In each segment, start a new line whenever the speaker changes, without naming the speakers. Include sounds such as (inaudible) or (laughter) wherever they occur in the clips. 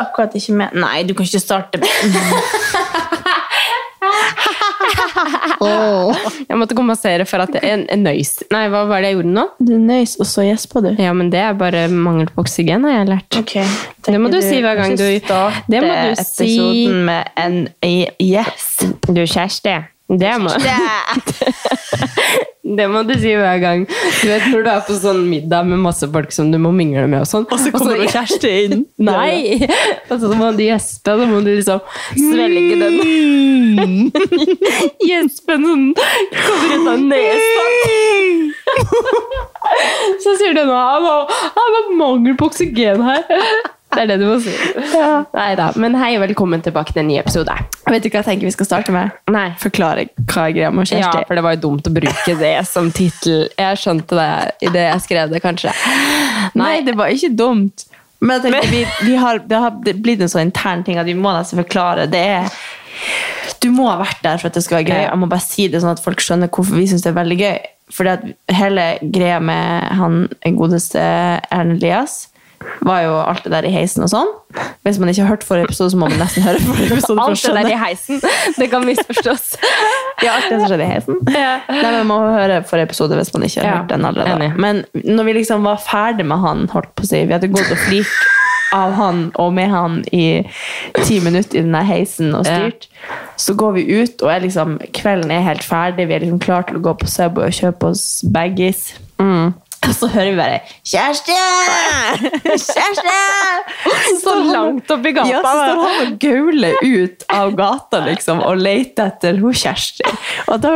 akkurat ikke med Nei, du kan ikke starte med
Jeg måtte kompensere for at det er en- en nøys. Nei, hva var det jeg gjorde nå?
(laughs) Du nøys, og så gjespa du.
Ja, men det er bare mangel på oksygen, har jeg lært.
Ok.
Det må du si hver gang du-
Det må du si. Episoden med en (laughs) yes.
Du, kjæreste. Det må, det må du si hver gang. Du vet når du er på sånn middag med masse folk som du må mingle med og sånn.
(laughs) Og så kommer det kjæreste (laughs) inn.
(laughs) Nei! (laughs) Og så må du gjespe, og så må du liksom svelge den.
(laughs)
Mm. (laughs) Gjespen sånn kommer ut av nesa. Så sier du nå Han har- han har mangel på oksygen her. (laughs) Det er det du må si. Nei da. Men hei, velkommen tilbake til en ny episode.
Vet du hva jeg tenker vi skal starte med?
Nei.
Forklare hva greia med
Ja,
kjæreste er.
for det var jo dumt å bruke det som tittel. Jeg skjønte det i det jeg skrev det, kanskje.
Nei, det var ikke dumt. Men jeg tenker, vi, vi har, det har blitt en sånn intern ting at vi må nesten forklare. Det er Du må ha vært der for at det skal være gøy.
Ja.
Jeg må bare si det sånn at folk skjønner hvorfor vi syns det er veldig gøy. Fordi at hele greia med han godeste Erlend Elias var jo alt det der i heisen og sånn. Hvis man ikke har hørt forrige episode, så må man nesten høre forrige (laughs) episode. for å
Alt det der i
skjønne.
heisen, det kan
(laughs)
misforstås.
Ja, alt det som skjedde i heisen.
Ja.
Nei, men Man må høre forrige episode hvis man ikke har
Ja,
hørt den allerede.
enig.
Men når vi liksom var ferdig med han, holdt på å si, vi hadde gått og flirt av han og med han i ti minutter i denne heisen og styrt, så går vi ut, og er liksom, kvelden er helt ferdig, vi er liksom klar til å gå på Subway og kjøpe oss baggies.
Mm.
Og så hører vi bare 'Kjæreste!
(laughs)
Kjæreste!'
Så langt opp i gata,
Ja, så står han og gauler ut av gata liksom, og leter etter hun Kjersti. Og da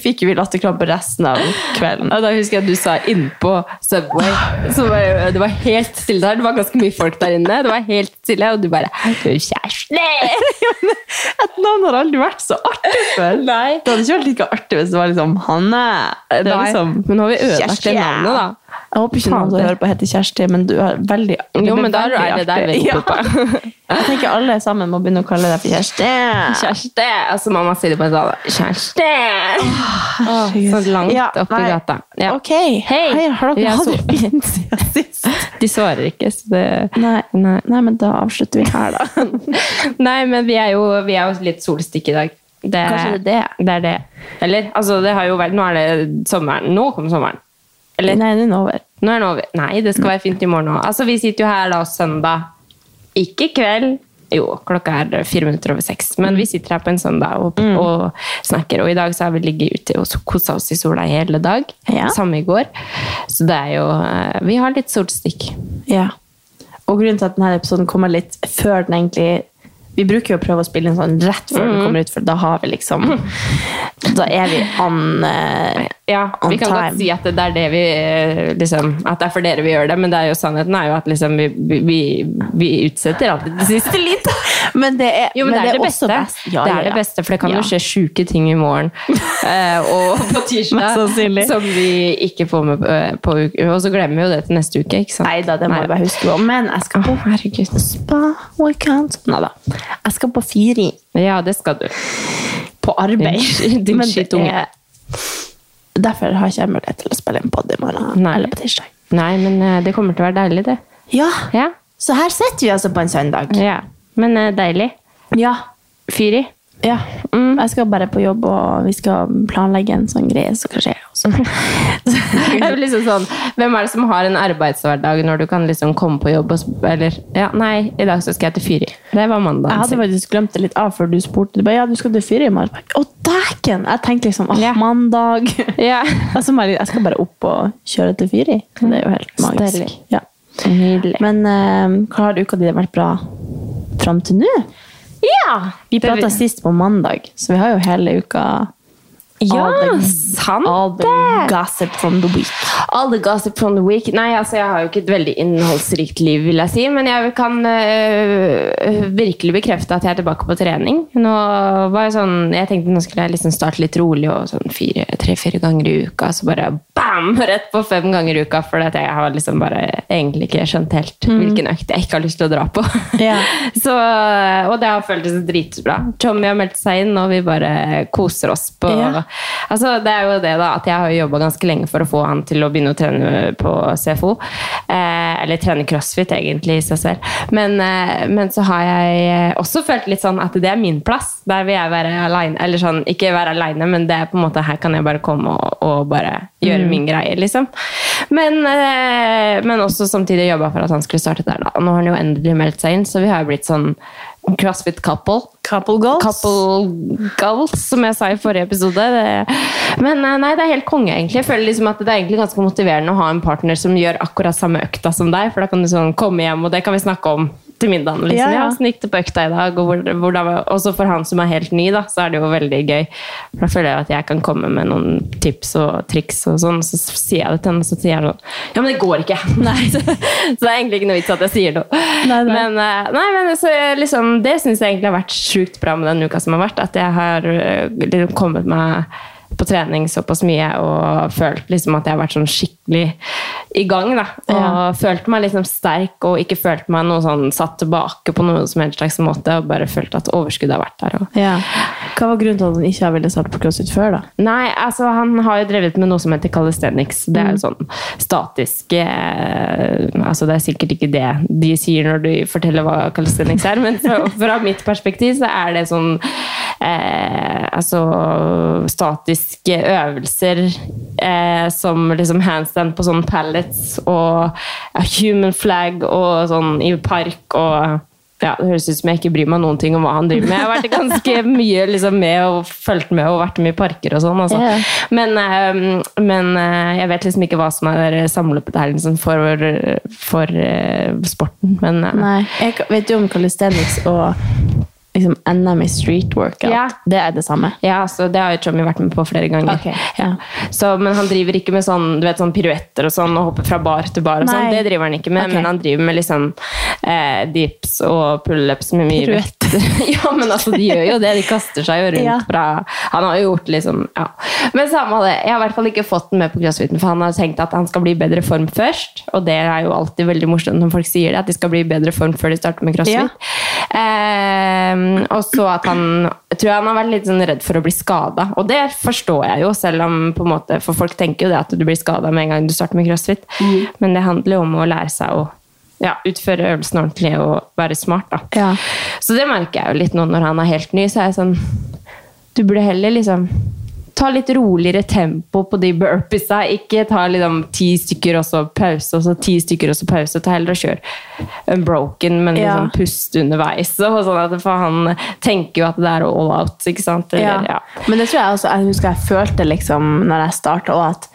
fikk vi latterkrampe resten av kvelden.
Og da husker jeg at du sa innpå Subway. Så var, det var helt stille der. Det var ganske mye folk der inne. Det var helt stille, og du bare Kjæreste!
Et navn har aldri vært så artig før.
Nei.
Det hadde ikke vært like artig hvis det var liksom Hanne. Det er
Nei,
liksom,
men nå har vi ødelagt det
Kjersti.
navnet, da.
Jeg håper ikke noen som hører på heter Kjersti, men du er veldig det
Jo,
blir
men da
veldig
er det der
artig.
vi er
Ja. Jeg tenker alle sammen må begynne å kalle deg for Kjersti.
Kjæreste! Altså, mamma sier det på en sånn Kjæreste!
Herregud.
Ah, så langt
Ja,
opp i
nei.
gata. Ja.
Ok. Hei, har
vi
dere
er
hatt
så-
det fint siden sist?
(laughs) De svarer ikke, så det
Nei, nei, men da avslutter vi her, da.
(laughs) Nei, men vi er jo, vi er jo litt solstikk i dag. Det,
Kanskje det er
det er det. Eller, altså, det har jo vært Nå er det sommeren. Nå kom sommeren. Eller
Nei, den er over.
Nå er den over. Nei, det skal være fint i morgen òg. Altså, vi sitter jo her da søndag. Ikke i kveld. Jo, klokka er fire minutter over seks. Men vi sitter her på en søndag og,
Mm.
og snakker. Og i dag så har vi ligget ute og kosa oss i sola hele dag.
Ja.
Samme i går. Så det er jo eh, Vi har litt solstikk.
Ja. Og grunnen til at denne episoden kommer litt før den egentlig Vi bruker jo å prøve å spille inn sånn rett før
Mm.
den kommer ut, for da har vi liksom Da er vi an eh,
Ja,
On
vi kan
time.
godt si at det er det vi eh, liksom, At det er for dere vi gjør det, men det er jo sannheten er jo at liksom vi, vi, vi- vi utsetter alltid det siste litt.
Men det er,
Jo, men, det er det,
også
beste.
Ja,
det
ja,
er det
ja.
beste, for det kan
Ja.
jo skje sjuke ting i (laughs) morgen. Eh, og på (laughs)
Mest sannsynlig.
tirsdag som vi ikke får med eh, på uke. Og så glemmer vi jo det til neste uke, ikke sant?
Nei da, det må jeg bare huske på. Men jeg skal på
herregud.
spa weekend. Neida. Jeg skal på Firi.
Ja, det skal du.
På arbeid.
Din- din
Men det
skittunge.
er- Derfor har ikke jeg mulighet til å spille inn podd i morgen
Nei.
eller på tirsdag.
Nei, men eh, det kommer til å være deilig, det.
Ja,
Ja.
Så her sitter vi altså på en søndag.
ja. Men eh, deilig.
Ja.
(laughs) Fyri.
ja. Jeg skal bare på jobb, og vi skal planlegge en sånn greie som kan skje. og (laughs)
Det
så-
er jo liksom sånn, hvem er det som har en arbeidshverdag når du kan liksom komme på jobb og sp- eller, ja, Nei, i dag så skal jeg til Fyri. Det var
Jeg
mandagen
hadde
sin.
faktisk glemt det litt av før du spurte. Du bare, ja, du skal til fire i morgen. Jeg bare, Å, dæken! Jeg tenkte liksom åh,
Ja.
(laughs) mandag.
Ja.
Altså, Mari, jeg skal bare opp og kjøre til fire i. Det er jo helt magisk.
Deilig.
Ja.
Nydelig.
Men eh, hva har uka di vært bra fram til nå?
Ja!
Vi
Det-
prata sist på mandag, så vi har jo hele uka
Ja,
all the,
sant
all the
det!
gossip from the week.
All the gossip from the week. Nei, altså, jeg har jo ikke et veldig innholdsrikt liv, vil jeg si, men jeg kan øh, virkelig bekrefte at jeg er tilbake på trening. Nå var jeg sånn, jeg tenkte nå skulle jeg liksom starte litt rolig og sånn fire, tre-fire ganger i uka, så bare bam! bam! (laughs) Rett på fem ganger i uka. For at jeg har liksom bare egentlig ikke skjønt helt hvilken økt jeg ikke har lyst til å dra på.
Mm. Ja.
(laughs) Så, og det har føltes dritbra. Tommy har meldt seg inn, og vi bare koser oss på
Ja.
Altså, det er jo det, da, at jeg har jobba ganske lenge for å få han til å begynne å trene på CFO. Eh, eller trene crossfit, egentlig, i seg selv. Men, eh, men så har jeg eh, også følt litt sånn at det er min plass. Der vil jeg være aleine. Eller sånn, ikke være aleine, men det er på en måte her kan jeg bare komme og, og bare gjøre min greie, liksom. Men, eh, men også samtidig jobba for at han skulle starte der, da. Og nå har han jo endelig meldt seg inn, så vi har jo blitt sånn crossfit couple.
Couple goals.
Couple goals, som jeg sa i forrige episode. Det, men eh, nei, det er helt konge, egentlig. Jeg føler liksom at det er egentlig ganske motiverende å ha en partner som gjør akkurat samme økta som deg, for da kan du sånn komme hjem, og det kan vi snakke om til middagen.
Ja,
Liksom.
ja.
Ja, hvordan gikk det på økta i dag? Og hvor, hvordan var- også for han som er helt ny, da, så er det jo veldig gøy. For da føler jeg at jeg kan komme med noen tips og triks og sånn, så sier jeg det til henne, så sier han sånn Ja, men det går ikke! (laughs) så, så det er egentlig ikke noe vits at jeg sier noe.
Nei, nei.
Men men, eh, nei, men altså, liksom, det syns jeg egentlig har vært sjukt bra med den uka som har vært. At jeg har eh, liksom, kommet meg på trening såpass mye og følt liksom, at jeg har vært sånn skikkelig i gang. Da. Og
Ja.
følt meg liksom sterk og ikke følt meg noe sånn satt tilbake på noen som helst slags måte. Og bare følt at overskuddet har vært der. Og,
Ja. Hva var grunnen til at han ikke ville starte på crossfit før, da?
Nei, altså han har jo drevet med noe som heter calisthenics. Det er jo sånn statisk eh, Altså det er sikkert ikke det de sier når du forteller hva calisthenics er, men så, fra mitt perspektiv så er det sånn eh, Altså statiske øvelser eh, som liksom handstand på sånn pallets og ja, human flag og sånn i park og ja, Det høres ut som jeg ikke bryr meg noen ting om hva han driver med. Jeg har vært
(laughs)
ganske mye liksom, med og fulgt med og vært mye i parker og sånn. Altså.
Ja.
Men, eh, men eh, jeg vet liksom ikke hva som er samlebetegnelsen for, for eh, sporten. Men eh,
Nei. Jeg ka- vet du om calisthenics og liksom NM i street workout?
Ja.
Det er det samme.
ja, så det har jo Tommy vært med på flere ganger.
Ok,
Ja. Så, men han driver ikke med sånn, du vet, sånn piruetter og sånn og hopper fra bar til bar. og sånn.
Nei.
Det driver han ikke med,
Ok.
men han driver med liksom eh, dips og pullups med mye vekt. (laughs) ja, men altså, de gjør jo det. De kaster seg jo rundt
Ja.
fra Han har jo gjort liksom ja. Men samme av det. Jeg har i hvert fall ikke fått den med på crossfiten, for han har tenkt at han skal bli i bedre form først. Og det er jo alltid veldig morsomt når folk sier det, at de skal bli i bedre form før de starter med crossfit.
Ja.
Eh, og så at han jeg tror han har vært litt sånn redd for å bli skada. Og det forstår jeg jo, selv om på en måte, for folk tenker jo det at du blir skada med en gang du starter med crossfit.
Mm.
Men det handler jo om å lære seg å ja, utføre øvelsen ordentlig og være smart, da.
Ja.
Så det merker jeg jo litt nå når han er helt ny. Så er jeg sånn Du burde heller liksom ta litt roligere tempo på de burpeesa. Ikke ta liksom ti stykker og så pause, og så ti stykker og så pause. Ta heller og kjør unbroken, men
Ja.
liksom puste underveis. Og sånn at, for han tenker jo at det er all out, ikke sant? Eller, ja.
Men det tror jeg også, jeg husker jeg følte liksom når jeg startet også at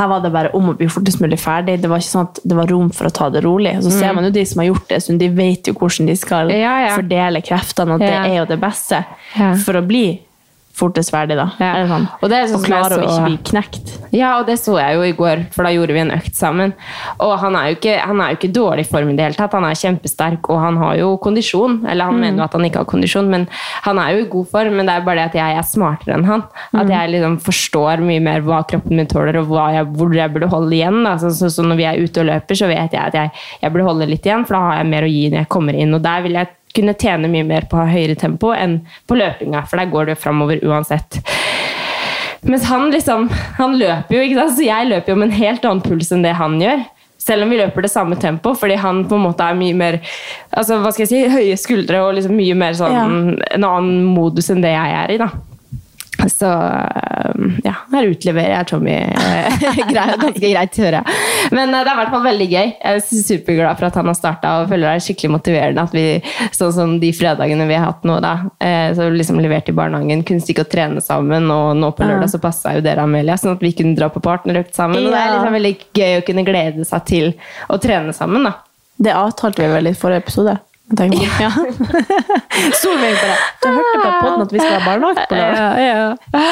her var det bare om å bli fortest mulig ferdig. Det var ikke sånn at det var rom for å ta det rolig. Og så ser man jo de som har gjort det, så de vet jo hvordan de skal
Ja, ja.
fordele kreftene, og det
Ja.
er jo det beste
Ja.
for å bli fortest ferdig da.
Ja.
Eller sånn,
Og det er
å
sånn som jeg
klare å
så-
ikke bli knekt.
Ja, og det så jeg jo i går, for da gjorde vi en økt sammen. Og han er jo ikke, han er jo ikke i dårlig form i det hele tatt. Han er kjempesterk, og han har jo kondisjon. Eller han mener jo at han ikke har kondisjon, men han er jo i god form. Men det er bare det at jeg er smartere enn han. At jeg liksom forstår mye mer hva kroppen min tåler, og hva jeg, hvor jeg burde holde igjen. Da. Så, så, så når vi er ute og løper, så vet jeg at jeg, jeg burde holde litt igjen, for da har jeg mer å gi når jeg kommer inn. Og der vil jeg kunne tjene mye mer på å ha høyere tempo enn på løpinga, for der går det framover uansett. Mens han liksom, han løper jo, ikke sant? Så jeg løper jo med en helt annen puls enn det han gjør. Selv om vi løper det samme tempo, fordi han på en måte er mye mer altså, hva skal jeg si, høye skuldre og liksom mye mer sånn, en annen modus enn det jeg er i. da. Så øhm, ja, her utleverer jeg Tommy eh, (laughs) grei- ganske greit, hører jeg. Men eh, det er i hvert fall veldig gøy. Jeg er superglad for at han har starta, og føler det er skikkelig motiverende at vi, sånn som de fredagene vi har hatt nå, da, eh, så liksom levert i barnehagen, kunne stikke og trene sammen, og nå på lørdag så passa jo dere, Amelia, sånn at vi kunne dra på partnerøkt sammen. Og det er
Ja.
liksom veldig gøy å kunne glede seg til å trene sammen, da.
Det avtalte vi vel i forrige episode. jeg tenker på. (laughs) Ja. Solveig bare, du hørte på podden at vi skal ha barnehage på lørdag.
Ja, ja.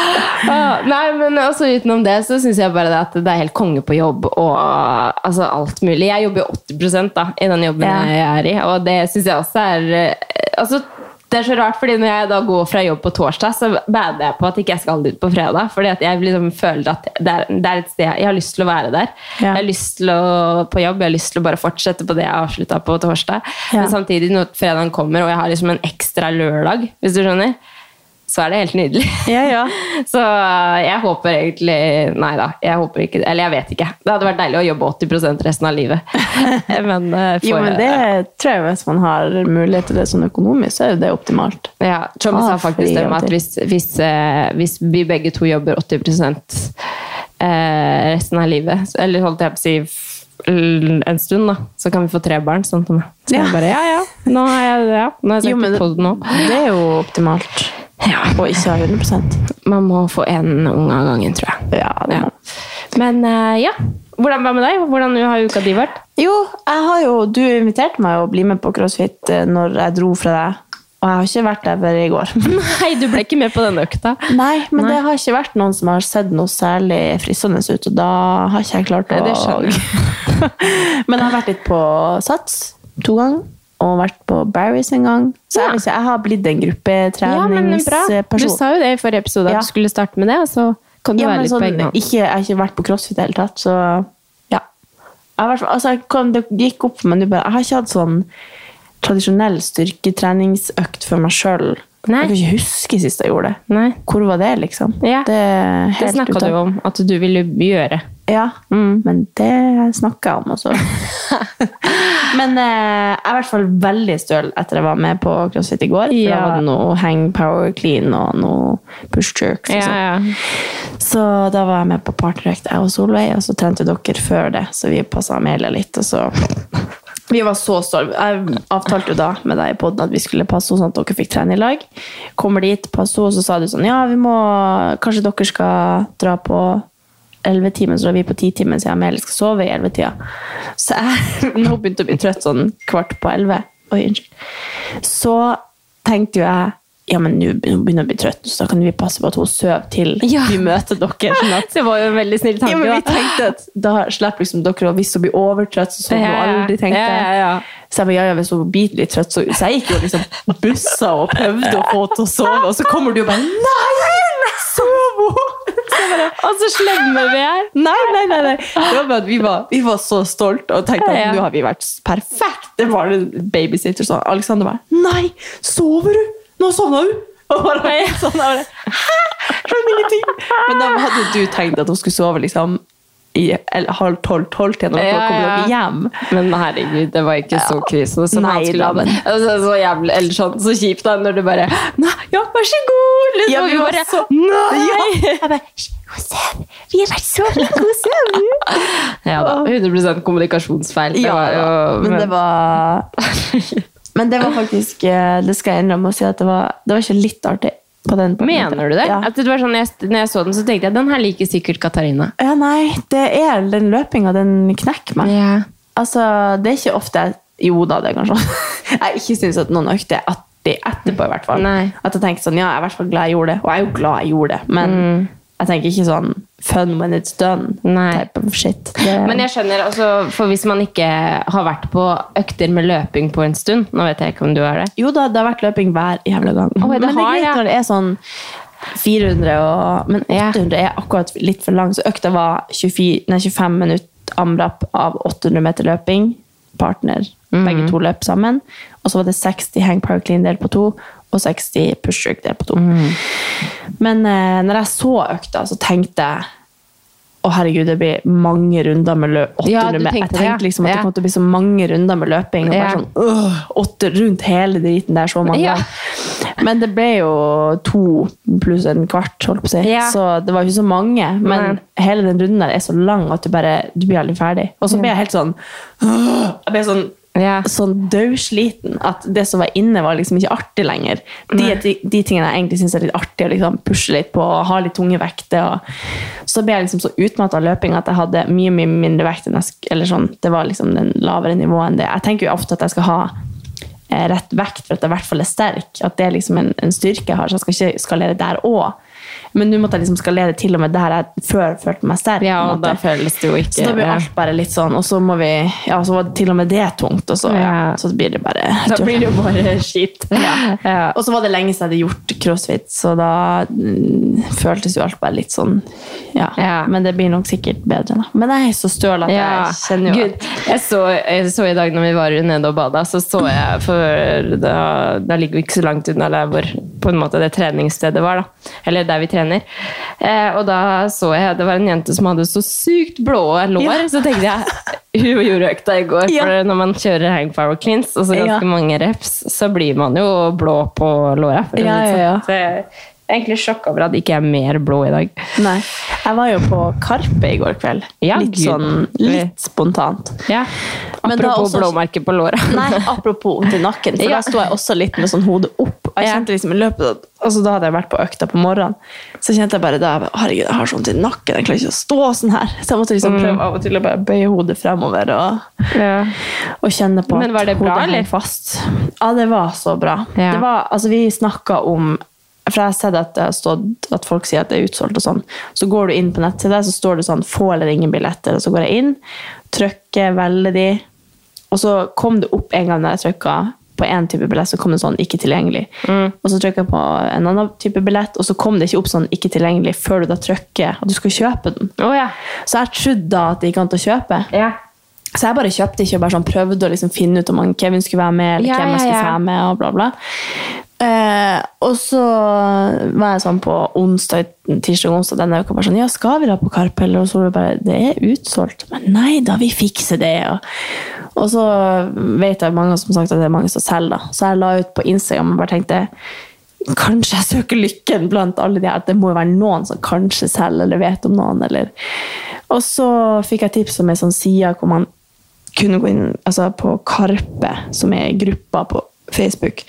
Ah, Nei, men også utenom det så syns jeg bare det at det er helt konge på jobb og ah, altså, alt mulig. Jeg jobber jo 80 da, i den jobben
Ja.
jeg er i, og det syns jeg også er eh, altså, Det er så rart, fordi når jeg da går fra jobb på torsdag, så bader jeg på at ikke jeg skal dit på fredag. Fordi at jeg liksom føler at det er, det er et sted jeg har lyst til å være der.
Ja.
Jeg har lyst til å på jobb, jeg har lyst til å bare fortsette på det jeg avslutta på torsdag.
Ja.
Men samtidig, når fredagen kommer, og jeg har liksom en ekstra lørdag, hvis du skjønner, så er det helt nydelig. (laughs)
Ja, ja.
Så eh, jeg håper egentlig Nei da, jeg håper ikke Eller jeg vet ikke. Det hadde vært deilig å jobbe 80 resten av livet. Men, eh, for,
Jo, men det tror jeg hvis man har mulighet til det sånn økonomisk, så er jo det optimalt.
Ja, Tjommi
Ah,
sa faktisk
fri
det med at
jobbtid.
hvis, hvis, eh, hvis vi begge to jobber 80 eh, resten av livet, så- eller holdt jeg på å si f- l- en stund, da, så kan vi få tre barn. Sånn som meg. Så jeg
Ja.
bare, ja, ja. Nå har jeg, ja. Nå har jeg sagt
Jo, men
det
det,
på det nå.
det er jo optimalt. Og ikke ha 100
Man må få én unge av gangen, tror jeg.
Ja, det
Ja.
må.
Men eh, ja. Hvordan, hva med deg? Hvordan har uka di vært?
Jo, jeg har jo, du inviterte meg å bli med på CrossFit eh, når jeg dro fra deg. Og jeg har ikke vært der bare i går. (laughs)
Nei, du ble ikke med på denne økta.
Nei, men det har ikke vært noen som har sett noe særlig fristende ut, og da har ikke jeg klart å
Nei, det skjønner
(laughs) Men jeg har vært litt på Sats to ganger, og vært på Barry's en gang. Så jeg,
Ja.
vet ikke, jeg har blitt en
Ja, men bra. Du
gruppetreningsperson.
sa jo det i forrige episode, at
Ja.
du skulle starte med det, og så kom du
Ja,
være
men
litt
sånn,
på egen hånd.
ikke, jeg har ikke vært på crossfit i det hele tatt, så ja. Jeg har vært- altså, jeg kom, det gikk opp for meg nå bare. Jeg har ikke hatt sånn tradisjonell styrketreningsøkt for meg sjøl.
Nei.
Jeg kan ikke huske sist jeg gjorde det.
Nei.
Hvor var det, liksom?
Ja.
Det, er
Det
helt
snakka
ute.
du om Mm. at du ville gjøre.
Ja, men det snakka jeg om
(laughs)
også. men eh, jeg er i hvert fall veldig støl etter jeg var med på crossfit i går. For
Ja.
da var det noe hang power clean og noe push jerks. Og sånn. Så da var jeg med på partyrøkt, jeg og Solveig, og så trente dere før det, så vi passa Amelia litt, og så (laughs) Vi var så stolte. Jeg avtalte jo da med deg i podden at vi skulle passe henne sånn at dere fikk trene i lag. Kommer dit, passe henne, og så sa du sånn Ja, vi må Kanskje dere skal dra på 11-timen, så da er vi på 10-timen, så jeg og Amelia skal sove i 11-tida. Så jeg (laughs) nå begynte å bli trøtt sånn kvart på 11. Oi, unnskyld. Så tenkte jo jeg ja, men nå begynner jeg å bli trøtt, så da kan vi passe på at hun sover til
Ja.
vi møter dere. Sånn at,
Det var jo en veldig snill tanke.
(laughs) ja, men vi
da.
tenkte at da slipper liksom dere å hvis hun blir overtrøtt, så sover hun aldri, tenkte
Ja, ja,
jeg.
ja.
Så jeg bare, ja, ja, hvis hun blir litt trøtt, så, så jeg gikk jo liksom bussa og prøvde å få henne til å sove, og så kommer du og bare Nei! Sov hun! Så jeg bare,
Og så slemme vi er.
Nei, nei, nei, nei. Det var bare at vi var, vi var så stolte og tenkte at
Ja, ja.
nå har vi vært perfekt. Det var en babysitter sånn. Alexander bare Nei, sover du? Nå sovna du! Og bare
(laughs)
sånn, jeg bare, Hæ? Skjønner ingenting. Men da hadde du tenkt at hun skulle sove liksom i eller, halv tolv, tolv til når
Ja,
folk kommer
ja.
dere hjem.
Men herregud, det var ikke så krise. Som
Nei
han skulle
da,
ha det.
men-
Altså, så jævlig, eller sånn, så kjipt da, når du bare Nei, ja, vær så god! Liksom,
Ja, vi
vi
var
bare
så-
Nei!
Jeg bare, «Hysj, god søvn. Vi har vært så mye god søvn.
Ja da. 100 kommunikasjonsfeil. Det
Ja,
var jo
men det var Men det var faktisk eh, Det skal jeg innrømme å si at det var, det var ikke litt artig. På den
Mener du det?
Ja.
At det var sånn, jeg, når jeg så den, så tenkte jeg den her liker sikkert Katarina.
Ja, nei, det er den løpinga, den knekker meg.
Ja.
Altså, det er ikke ofte jeg Jo da, det er kanskje (laughs) Jeg ikke syns at noen økter er artig etterpå, i hvert fall.
Nei.
At jeg tenker sånn, ja, jeg er i hvert fall glad jeg gjorde det, og jeg er jo glad jeg gjorde det, men jeg tenker ikke sånn fun when it's done.
Mm. Nei.
Type of shit. Det,
Men jeg skjønner, altså, for hvis man ikke har vært på økter med løping på en stund Nå vet jeg ikke om du har det.
Jo da, det har vært løping hver jævla gang.
Oi, det
men det
har
er greit
jeg.
når det er sånn 400 og Men
Ja.
800 er akkurat litt for lang, så økta var 24, nei, 25 minutter amrap av 800 meter løping. Partner.
Mm.
Begge to løp sammen. Og så var det 60 hang power clean del på to, og 60 push jerk del på to.
Mm.
Men eh, når jeg så økta, så tenkte jeg å herregud, det blir mange runder med løp. 800
Ja, du
med. Jeg
tenkte det, ja.
tenkte liksom at
Ja.
det kom til å bli så mange runder med løping. Og bare
Ja.
sånn, øh, åtte rundt hele driten der så mange
Ja.
ganger. Men det ble jo to pluss en kvart, holdt på å si.
Ja.
Så det var jo ikke så mange. Men
Nei.
hele den runden der er så lang at du bare du blir aldri ferdig. Og så ble jeg helt sånn øh, Jeg ble sånn
Ja.
sånn dødsliten at det som var inne, var liksom ikke artig lenger. De, de, de tingene jeg egentlig syns er litt artig å liksom pushe litt på og ha litt tunge vekter. Og så ble jeg liksom så utmatta av løping at jeg hadde mye mye mindre vekt. enn jeg, sk- eller sånn, Det var liksom den lavere nivået enn det. Jeg tenker jo ofte at jeg skal ha eh, rett vekt for at jeg i hvert fall er sterk. At det er liksom en, en styrke jeg har, så jeg skal ikke skalere der òg. Men nå måtte jeg liksom skalere til og med det her jeg før følte meg sterk.
Ja,
på en
og da
måte.
føles det jo ikke
Så da blir alt bare litt sånn, og så må vi Ja, så var det til og med det tungt, og så,
Ja.
ja. så blir det bare
Da blir det jo bare skitt.
(laughs) Ja.
Ja.
Og så var det lenge siden jeg hadde gjort crossfit, så da mm, føltes jo alt bare litt sånn ja.
Ja.
Men det blir nok sikkert bedre, da. Men jeg er så støl at
Ja,
jeg kjenner jo
Gud, jeg så, jeg så i dag når vi var nede og bada, så så jeg For da, da ligger vi ikke så langt unna der hvor på en måte det treningsstedet var. da Eller der vi trener. Eh, og da så jeg det var en jente som hadde så sykt blå lår,
Ja.
så tenkte jeg (laughs) hun gjorde økta i går.
Ja.
For når man kjører hang power cleans, altså ganske
Ja.
mange reps, så blir man jo blå på låra. for å si det
Ja, ja, ja.
sånn. Så jeg er egentlig sjokk over at jeg ikke er mer blå i dag.
Nei. Jeg var jo på Karpe i går kveld.
Ja,
litt
Gud.
sånn litt spontant.
Ja.
Men da
Apropos
også-
blåmerker på låra.
Nei, (laughs) apropos til nakken, for
Ja.
da sto jeg også litt med sånn hodet opp. Og jeg
Ja.
kjente liksom i løpet av, altså Da hadde jeg vært på økta på morgenen, så kjente jeg bare da Herregud, jeg har sånn til nakken, jeg klarer ikke å stå sånn her. Så jeg måtte
Mm.
liksom prøve av og til å bare bøye hodet fremover og,
(laughs) Ja.
og kjenne på
Men var det bra,
hodet henger
eller?
fast. Ja, det var så bra.
Ja.
Det var, altså Vi snakka om for jeg har sett at, det har stått, at folk sier at det er utsolgt. og sånn. Så går du inn på nettsida, så står det sånn 'få eller ingen billetter'. og Så går jeg inn, trykker, velger de. Og så kom det opp en gang når jeg trykket på en type billett, så kom det sånn 'ikke tilgjengelig'.
Mm.
Og så trykket jeg på en annen type billett, og så kom det ikke opp sånn 'ikke tilgjengelig' før du da trykker at du skal kjøpe den.
Å, ja.
Så jeg trodde da at det gikk an til å kjøpe.
Ja.
Så jeg bare kjøpte ikke og bare sånn prøvde å liksom finne ut om han Kevin skulle være med, eller
Ja,
hvem jeg
ja,
skulle
ja.
være med, og bla, bla. Eh, og så var jeg sånn på onsdag, tirsdag og onsdag denne uka bare sånn Ja, skal vi da på Karpe? Eller? Og så var det bare Det er utsolgt. Men nei da, vi fikser det. Og, og så vet jeg mange som sagt at det er mange som selger, da. Så jeg la ut på Instagram og bare tenkte Kanskje jeg søker lykken blant alle de her. at Det må jo være noen som kanskje selger, eller vet om noen, eller Og så fikk jeg tips om ei sånn side hvor man kunne gå inn altså på Karpe, som er gruppa på Facebook,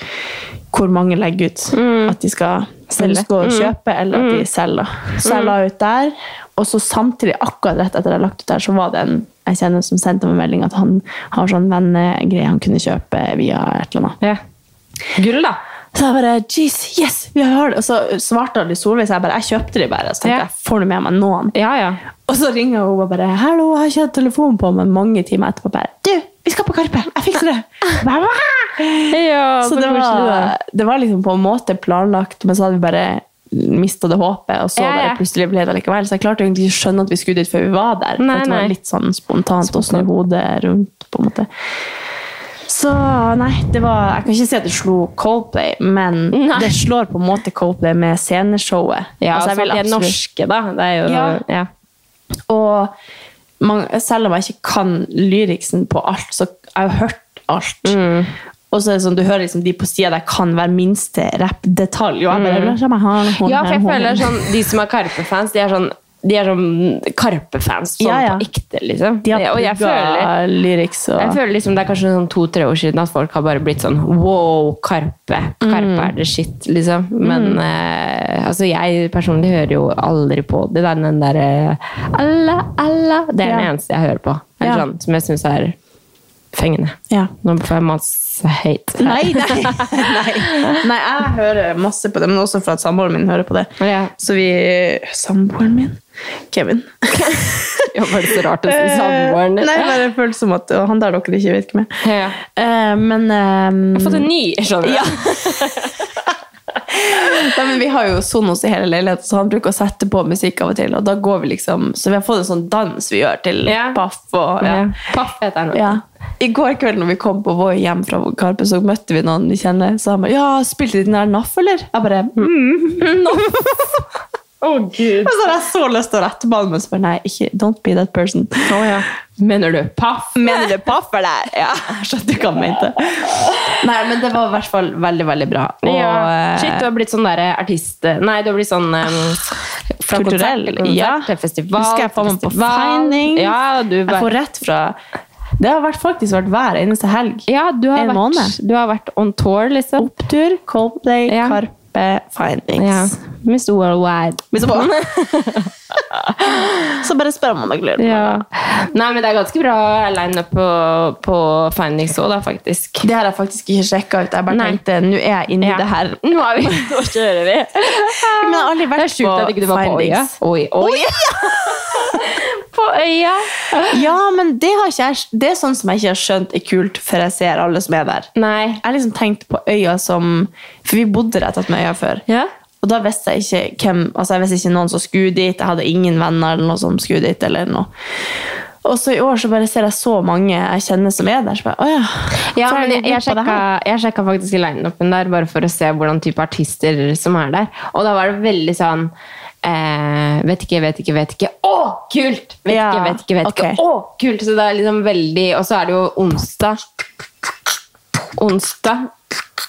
hvor mange legger ut at de skal selge. Gå og kjøpe, eller at de selger. Så jeg la ut der, og så samtidig, akkurat rett etter jeg la ut der, så var det en jeg kjenner som sendte meg melding at han har sånn vennegreie han kunne kjøpe via et eller annet.
Ja. Gull, da.
Så jeg bare Jeez, yes, vi har det! Og så svarte Ali Solveig, så jeg bare Jeg kjøpte de bare. Så tenkte
Ja.
jeg, får du med meg noen?
Ja, ja.
Og så ringer hun og bare 'Hallo, jeg har ikke hatt telefon på', men mange timer etterpå bare 'Du, vi skal på Karpe! Jeg fikser
(laughs)
det!' Jeg Bare, «Hva?»
ja
så det var, det var liksom på en måte planlagt, men så hadde vi bare mista det håpet, og så
Ja, ja.
bare plutselig ble det likevel. Så jeg klarte egentlig ikke å skjønne at vi skulle dit før vi var der. for
Nei,
at det
nei.
var litt sånn spontant å snu hodet rundt, på en måte. Så nei, det var Jeg kan ikke si at det slo Coldplay, men
Nei.
det slår på en måte Coldplay med sceneshowet.
ja,
Altså, jeg
altså,
vil
de er
absolutt-
norske, da. Det er jo, ja.
Ja. Og man, selv om jeg ikke kan lyriksen på alt, så jeg har jeg hørt alt.
Mm.
Og så er det sånn, du hører liksom de på sida der kan hver minste rappdetalj. Og jeg bare,
Mm. Ja, for jeg føler sånn, De som er Karpe-fans, de er sånn de er sånn Karpe-fans sånn
Ja, ja.
på ekte, liksom.
De har
og jeg føler,
plugga lyriks og
jeg føler liksom det er kanskje sånn to-tre år siden at folk har bare blitt sånn Wow, Karpe! Karpe er det shit, liksom. Men
Mm.
eh, altså, jeg personlig hører jo aldri på det. Det er den derre Alla, alla Det er
Ja.
den eneste jeg hører på. Eller
Ja.
sånn, som jeg syns er fengende.
ja.
Nå får jeg masse hate.
(laughs)
her.
Nei, nei, nei. nei, jeg hører masse på det, men også for at samboeren min hører på det.
Ja.
Så vi Samboeren min? Kevin.
(laughs) Jeg var det så rart å si (laughs) samboeren.
Eh, Nei,
Jeg
bare føles som at å, han der dere ikke vet hvem er.
Ja.
Eh, men eh,
har fått en ny, skjønner du.
Ja. Nei, men vi har jo Sonos i hele leiligheten, så han bruker å sette på musikk av og til. Og da går vi liksom, så vi har fått en sånn dans vi gjør til
Ja.
paff. Og, ja.
Ja. Paff heter den.
Ja. I går kveld når vi kom på vår hjem fra Karpe, så møtte vi noen vi kjenner. Så han bare 'Ja, spilte de den der NAF, eller?' Jeg bare mm.
Å, gud.
Og så hadde jeg så lyst til å rette på han, men så bare nei, ikke, don't be that person.
Mener du paff?
Mener du paff, eller? (laughs) Ja, jeg skjønte hva han mente. Nei, men det var i hvert fall veldig, veldig bra. Og,
ja.
eh,
Shit, du har blitt sånn derre artist Nei, du har blitt sånn um, fra konsert
Kulturell,
til konsert
ja.
til festival.
Husker jeg faen meg på
festival.
Findings.
Ja, du
Jeg får rett fra Det har vært faktisk vært hver eneste helg.
ja, du har,
En
vært,
måned.
du har vært on tour, liksom.
Opptur, Coldplay,
Ja.
Karpe, Findings.
(laughs) Ja. Miss Worldwide.
Men så, så bare spør om han er glad i meg.
Ja. Nei, men det er ganske bra lineup på, på Findings òg, da, faktisk.
Det har jeg faktisk ikke sjekka ut. Jeg bare
Nei.
tenkte nå er jeg inni
Ja.
det her.
(laughs) Nå
(laughs)
er vi Nå kjører vi.
Men jeg har aldri
Det er
vært
sjukt at ikke du var på øya.
findings.
Oi, oi. (laughs) På øya.
Ja, men det, har ikke jeg, det er sånn som jeg ikke har skjønt er kult før jeg ser alle som er der.
Nei.
Jeg har liksom tenkt på øya som For vi bodde rett attmed øya før.
Ja.
Og da visste jeg ikke hvem Altså jeg visste ikke noen som skulle dit. Jeg hadde ingen venner eller noe som skulle dit. eller noe Og så i år så bare ser jeg så mange jeg kjenner som er der. Så bare, åja,
Ja,
hvorfor er
men
det
jeg,
glipp
jeg,
av det
sjekka,
her?
jeg sjekka faktisk i lineupen der, bare for å se hvordan type artister som er der. Og da var det veldig sånn eh, Vet ikke, vet ikke, vet ikke. Å, kult! Vet
Ja,
ikke, vet ikke, vet
ok.
ikke. Å, kult! Så det er liksom veldig Og så er det jo onsdag. Onsdag.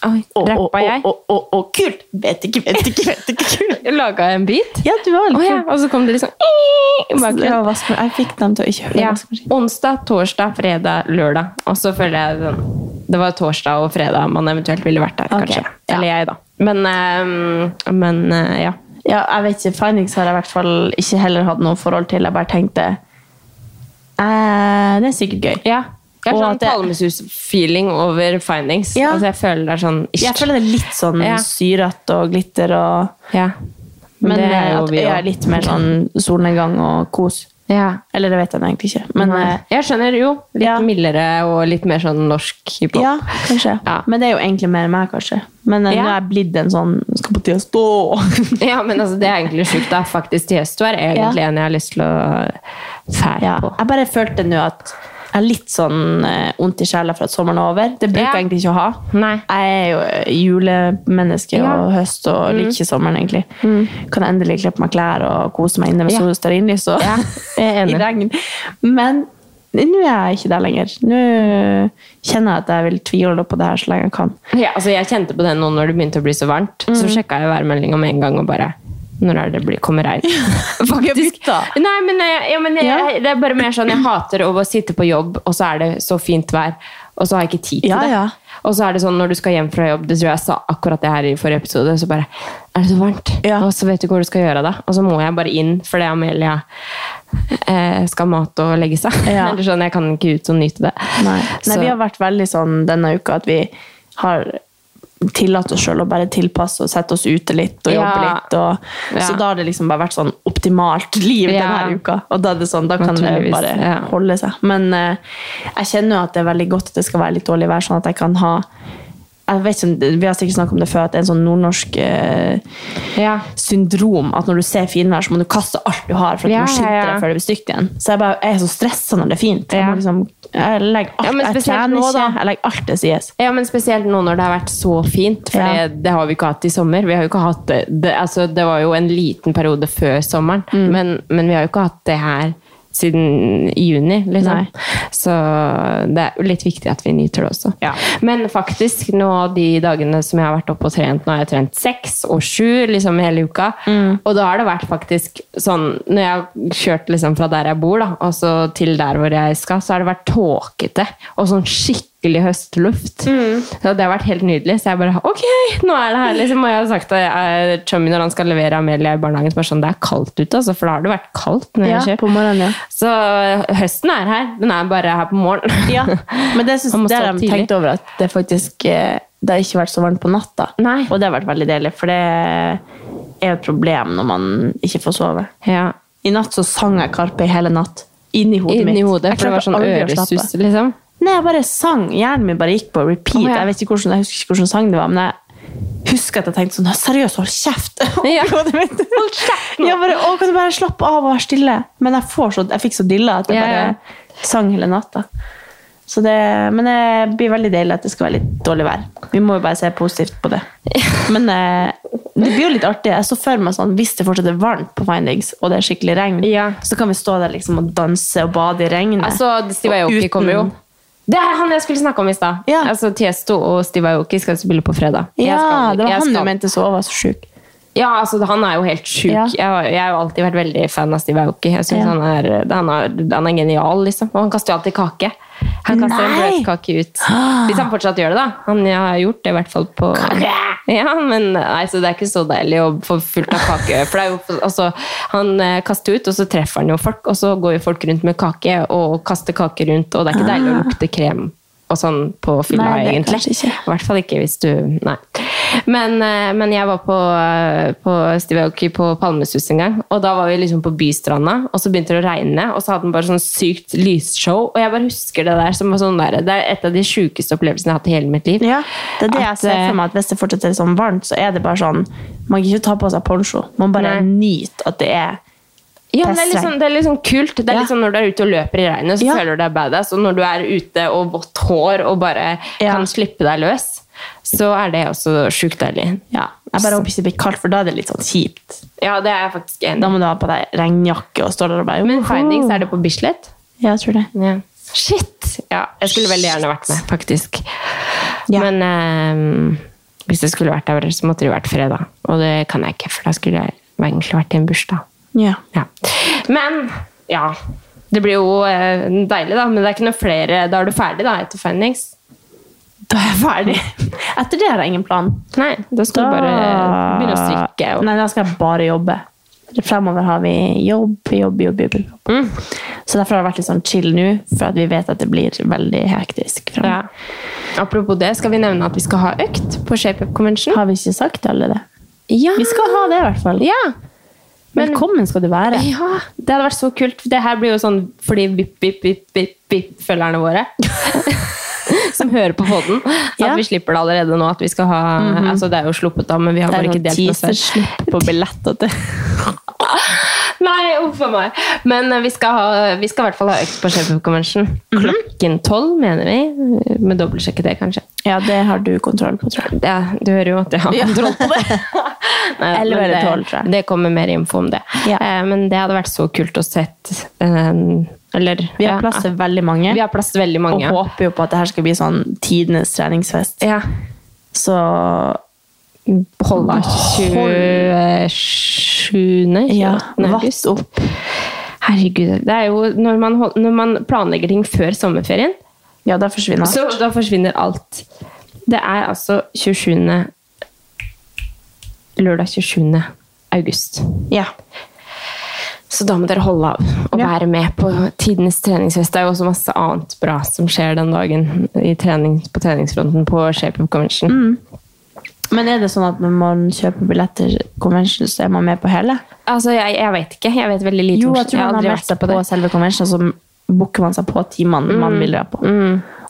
Oi,
Å, å,
rappa jeg?
Å, å, å, å, kult! Vet ikke, vet ikke, vet ikke. kult.
Jeg laga en bit.
Ja, du var
Å
litt
(laughs) ja,
kul.
og så kom det liksom i
Så det
bakgrunnen.
var vaskema- Jeg fikk dem til å ikke høre
Ja.
vaskemaskinen.
Onsdag, torsdag, fredag, lørdag. Og så føler jeg sånn Det var torsdag og fredag man eventuelt ville vært der,
Ok,
kanskje.
ja.
Eller jeg, da. Men, eh, men eh, ja.
Ja, jeg vet ikke, Findings har jeg i hvert fall ikke heller hatt noe forhold til. Jeg bare tenkte eh, Det er sikkert gøy.
ja. Jeg
Og
har sånn
at det-
palmesus-feeling over findings.
Ja.
Altså, jeg føler det er sånn ish.
Jeg føler det er litt sånn
Ja.
syrete og glitter og
ja.
Men, eh,
det er jo
at
vi
øya
også.
er litt mer sånn solnedgang og kos.
ja.
Eller det vet jeg egentlig ikke. Men
Men eh, jeg skjønner jo. Litt
ja.
mildere og litt mer sånn norsk
eh,
hiphop.
ja, kanskje.
Ja.
Men det er jo egentlig mer meg, kanskje. Men eh,
Ja.
nå er jeg blitt en sånn Skal på tide å stå! (laughs)
Ja, men altså, det er egentlig sjukt. Det er faktisk til høst. Du er egentlig en jeg har lyst til å fære
Ja.
på.
Jeg bare følte nå at jeg er litt sånn eh, vondt i sjela for at sommeren er over. Det bruker
Ja.
jeg egentlig ikke å ha.
Nei.
Jeg er jo eh, julemenneske
Ja. Mm.
og høst og liker ikke sommeren, egentlig. Kan jeg endelig klippe meg klær og kose meg inne ved
Ja.
sol- og stearinlys og (laughs)
Ja, jeg er enig.
i regn. Men nå er jeg ikke der lenger. Nå kjenner jeg at jeg vil tviholde på det her så lenge jeg kan.
Ja, altså jeg kjente på det nå når det begynte å bli så varmt.
Mm.
Så sjekka jeg værmeldinga med en gang og bare Når er det blir, kommer regn?
(laughs)
Faktisk.
bytta.
Nei, men, eh, ja, men jeg,
Ja.
det er bare mer sånn jeg hater å bare sitte på jobb, og så er det så fint vær, og så har jeg ikke tid til
Ja,
det.
ja.
Og så er det sånn når du skal hjem fra jobb, det tror jeg jeg sa akkurat det her i forrige episode, så bare Er det så varmt?
Ja.
Og så vet du ikke hvor du skal gjøre av deg. Og så må jeg bare inn fordi Amelia eh, skal ha mat og legge seg.
Ja.
(laughs) Eller sånn, jeg kan ikke ut og nyte det.
Nei.
Så-
vi har vært veldig sånn denne uka at vi har tillatt oss selv å bare tilpasse og sette oss ute litt og jobbe
Ja.
litt. Og,
Ja.
Så da har det liksom bare vært sånn optimalt (laughs) liv
Ja.
denne uka. Og da er det sånn, da kan det
Naturligvis,
bare
ja.
holde seg. Men eh, jeg kjenner jo at det er veldig godt at det skal være litt dårlig vær, sånn at jeg kan ha jeg vet ikke, om- Vi har sikkert snakket om det før, at det er en sånn nordnorsk eh,
ja.
syndrom at når du ser finvær, så må du kaste alt du har for at
Ja,
du må skynde
ja, ja.
deg før det blir stygt igjen. Så jeg, bare, jeg er så stressa når det er fint. Jeg,
Ja.
må liksom, jeg legger alt,
Ja, men
jeg
spesielt
trener
nå,
ikke.
da.
Jeg legger alt det sies.
Ja, men spesielt nå når det har vært så fint, for
Ja.
det, det har vi ikke hatt i sommer. Vi har jo ikke hatt det, det, altså, det var jo en liten periode før sommeren,
Mm.
men, men vi har jo ikke hatt det her siden juni, liksom.
Nei.
Så det er jo litt viktig at vi nyter det også.
Ja.
Men faktisk, nå de dagene som jeg har vært oppe og trent, nå har jeg trent seks og sju liksom hele uka,
Mm.
og da har det vært faktisk sånn, når jeg har kjørt liksom fra der jeg bor da, og så til der hvor jeg skal, så har det vært tåkete, og sånn skikkelig skikkelig høstluft.
Mm.
Så det har vært helt nydelig. Så jeg bare Ok, nå er det her! Liksom. Og jeg har sagt at Chummy når han skal levere Amelia i barnehagen, så bare sånn Det er kaldt ute, altså, for da har det vært kaldt når jeg
Ja,
kjører.
på morgenen, ja.
Så eh, høsten er her. Den er bare her på morgenen.
Men det, synes,
Man må
det
stå
har
opp
jeg
tidlig.
tenkt over at det faktisk eh, det har ikke vært så varmt på natta.
Nei.
Og det har vært veldig deilig, for det er jo et problem når man ikke får sove.
(laughs) Ja.
I natt så sang jeg Karpe i hele natt. Inni hodet mitt.
Inni hodet,
Jeg
for det var
klarte
sånn
aldri å slappe.
øresus, liksom.
Nei, jeg bare sang. Hjernen min bare gikk på repeat.
Å, ja.
jeg, vet ikke hvordan, jeg husker ikke hvordan sang det var, men jeg husker at jeg tenkte sånn Seriøst, hold kjeft! (laughs)
Ja.
Hold kjeft
kjeft nå!
bare, å, kan du bare slappe av og være stille? Men jeg, får så, jeg fikk så dilla at jeg
Ja,
bare
ja.
sang hele natta. Så det, men det blir veldig deilig at det skal være litt dårlig vær. Vi må jo bare se positivt på det. Men eh, det blir jo litt artig. Jeg så for meg sånn, hvis det fortsatt er varmt på Findings, og det er skikkelig regn,
Ja.
så kan vi stå der liksom og danse og bade i regnet.
Altså, Steve
Og
Aoki
uten-
kommer jo. Det er han jeg skulle snakke om i stad.
Ja.
Altså, Tiesto og Steve Aoki skal spille på fredag. Jeg
Ja,
skal-
det var
jeg
han
skal-
du mente så var så sjuk.
Ja, altså han er jo helt sjuk.
Ja.
Jeg, har- jeg har jo alltid vært veldig fan av Steve Aoki. Jeg synes
Ja.
han, er, han, er, han er genial, liksom. Og han kaster jo alltid kake. Han kaster en
Nei!
brødkake ut. Hvis han fortsatt gjør det, da. Han har gjort det i hvert fall på Ja, men nei, så det er ikke så deilig å få fullt av kake. For det er jo, altså, han eh, kaster ut, og så treffer han jo folk, og så går jo folk rundt med kake og kaster kake rundt, og det er ikke deilig
Ah.
å lukte krem. Og sånn på fylla,
Nei, det er
egentlig.
kanskje ikke.
I hvert fall ikke hvis du Nei. Men, eh, men jeg var på, eh, på Steve Aoki på Palmesus en gang, og da var vi liksom på Bystranda, og så begynte det å regne, og så hadde han bare sånn sykt lysshow, og jeg bare husker det der som var sånn der, det er et av de sjukeste opplevelsene jeg har hatt i hele mitt liv.
Ja, det er det jeg
At,
ser
eh,
for meg, at hvis det fortsetter sånn varmt, så er det bare sånn Man kan ikke ta på seg poncho. Man bare
Nei.
nyter at det er
Ja, men det er litt sånn- det er litt sånn kult. Det er
Ja.
litt sånn når du er ute og løper i regnet, så
Ja.
føler du deg badass, og når du er ute og vått hår og bare
Ja.
kan slippe deg løs, så er det også sjukt deilig.
Ja. Jeg bare håper ikke det blir kaldt, for da er det litt sånn kjipt.
Ja, det er jeg faktisk enig
Da
i.
må du ha på deg regnjakke og stå der og bare
Men findings, er det på Bislett?
Ja, jeg tror det.
Ja. Shit! Ja, jeg skulle veldig gjerne vært med, faktisk.
Ja.
Men eh, hvis jeg skulle vært der, så måtte det jo vært fredag. Og det kan jeg ikke, for da skulle jeg egentlig vært i en bursdag.
Ja.
Ja. Men ja. Det blir jo eh, deilig, da. Men det er ikke noe flere Da er du ferdig, da, etter Findings?
Da er jeg ferdig. (laughs) Etter det har jeg ingen plan.
Nei, da skal du bare begynne å strikke. Og...
Nei, da skal jeg bare jobbe. Fremover har vi jobb, jobb, jobb. jobb, jobb.
Mm.
Så derfor har det vært litt sånn chill nå, for at vi vet at det blir veldig hektisk. fremover.
Ja. Apropos det, skal vi nevne at vi skal ha økt på ShapeUp Convention?
Har vi ikke sagt alle det?
Ja!
Vi skal ha det, i hvert fall.
ja. Men-
Velkommen skal du være.
ja! Det hadde vært så kult. Det her blir jo sånn for de vipp-vipp-vipp-vipp-følgerne
(laughs)
våre. Som hører på podden. At
Ja. Mhm.
vi slipper det allerede nå. At vi skal ha, altså Det er jo sluppet, da, men vi har
Det
bare
er
ikke
noen
delt noe selv.
teaserslipp på billetter til
Nei, uff a meg. Men eh, vi skal, ha, vi skal i hvert fall ha økt på Shape Up Convention.
Mhm.
Klokken tolv, mener vi. Med dobbeltsjekke det, kanskje.
(laughs) Ja, det har du kontroll på, tror jeg.
Ja, du hører jo at jeg har kontroll på det.
(laughs)
Nei,
Elleve
men
eller
det-
tolv, tror jeg.
Det kommer mer info om det.
Ja.
Eh, Men det hadde vært så kult å sett eh, Eller
Vi har
ja,
plass til veldig mange,
Vi har plass til veldig mange.
og håper jo på at det her skal bli sånn tidenes treningsfest.
ja.
Så
Holde 27.
ja,
28.
vass opp.
Herregud. Det er jo når man, hold- når man planlegger ting før sommerferien,
Ja, da forsvinner alt.
Så da forsvinner alt. Det er altså 27. Lørdag 27. august.
Ja.
Så da må dere holde av og
Ja.
være med på tidenes treningsfest. Det er jo også masse annet bra som skjer den dagen i trening, på treningsfronten på Shape Up Convention.
Men er det sånn at når man kjøper billetter convention, så er man med på hele?
Altså, jeg, jeg vet ikke. Jeg vet veldig lite
Jo,
om-
jeg tror
har
man har
aldri
meldt
vært
seg på, Mm, selve convention, så booker man seg på timene man vil dra på.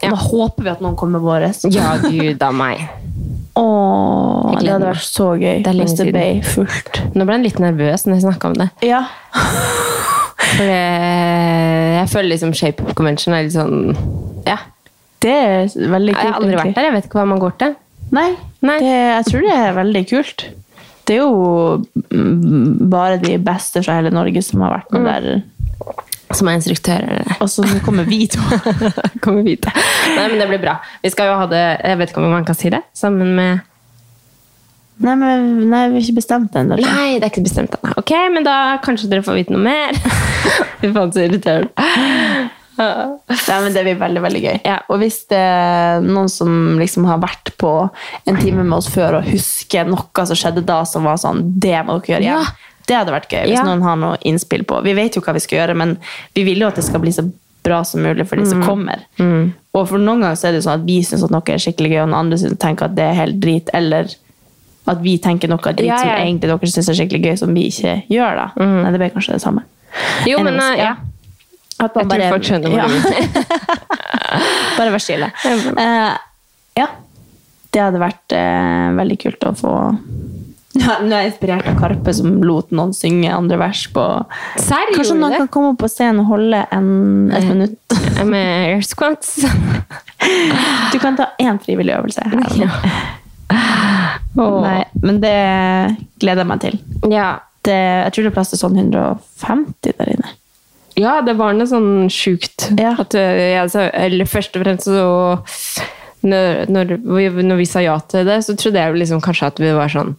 Og da håper vi at noen kommer våre.
Ja, gud a meg.
Åh,
Jeg gleder
det hadde
meg.
vært så gøy
er lenge
hvis det
siden.
ble fullt.
Nå ble jeg litt nervøs når jeg snakka om det.
Ja.
For eh, jeg føler liksom Shape Up Convention er litt sånn Ja.
Det er veldig kult.
Jeg har aldri vært der. Jeg vet ikke hva man går til.
Nei,
Nei.
Det, jeg tror det er veldig kult. Det er jo mm, bare de beste fra hele Norge som har
Mm.
vært med der.
Som er instruktører. (laughs)
Og så nå kommer vi to.
Kommer vi til. Nei, men det blir bra. Vi skal jo ha det, jeg vet ikke om man kan si det, sammen med
Nei, men nei, vi har ikke bestemt det ennå.
Nei, det er ikke bestemt ennå. Ok, men da kanskje dere får vite noe mer. (laughs) Fy faen, så (laughs) irriterende.
Nei, men Det blir veldig veldig gøy.
Ja.
Og hvis det er noen som liksom har vært på en time med oss før og husker noe som skjedde da, som var sånn Det må dere gjøre
Ja.
igjen. Det hadde vært gøy hvis
Ja.
noen har noe innspill på. Vi vet jo hva vi skal gjøre, men vi vil jo at det skal bli så bra som mulig for de som
Mm.
kommer. Og for noen ganger så er det jo sånn at vi syns at noe er skikkelig gøy, og noen andre synes, tenker at det er helt drit, eller at vi tenker noe drit
Ja,
som
ja.
egentlig dere syns er skikkelig gøy, som vi ikke gjør, da. Nei, det ble kanskje det samme.
Jo, men
Anyways,
eh, ja.
At man
Jeg tror
bare
folk skjønner hvor
Ja.
du vil.
Bare vær stille. Eh, ja. Det hadde vært eh, veldig kult å få ja, Nå er jeg inspirert av Karpe, som lot noen synge andre vers på
Serr,
Kanskje
gjorde
noen
du
kan komme opp på scenen og holde en, et minutt?
det? Med air (laughs) squats.
Du kan ta én frivillig øvelse. (laughs) her.
Åh.
Nei, men det gleder jeg meg til.
Ja.
Det, jeg tror det er plass til sånn 150 der inne.
ja, det var noe sånn sjukt.
Ja.
At, eh, jeg sa- eller først og fremst så når, når, vi, når vi sa ja til det, så trodde jeg jo liksom kanskje at vi var sånn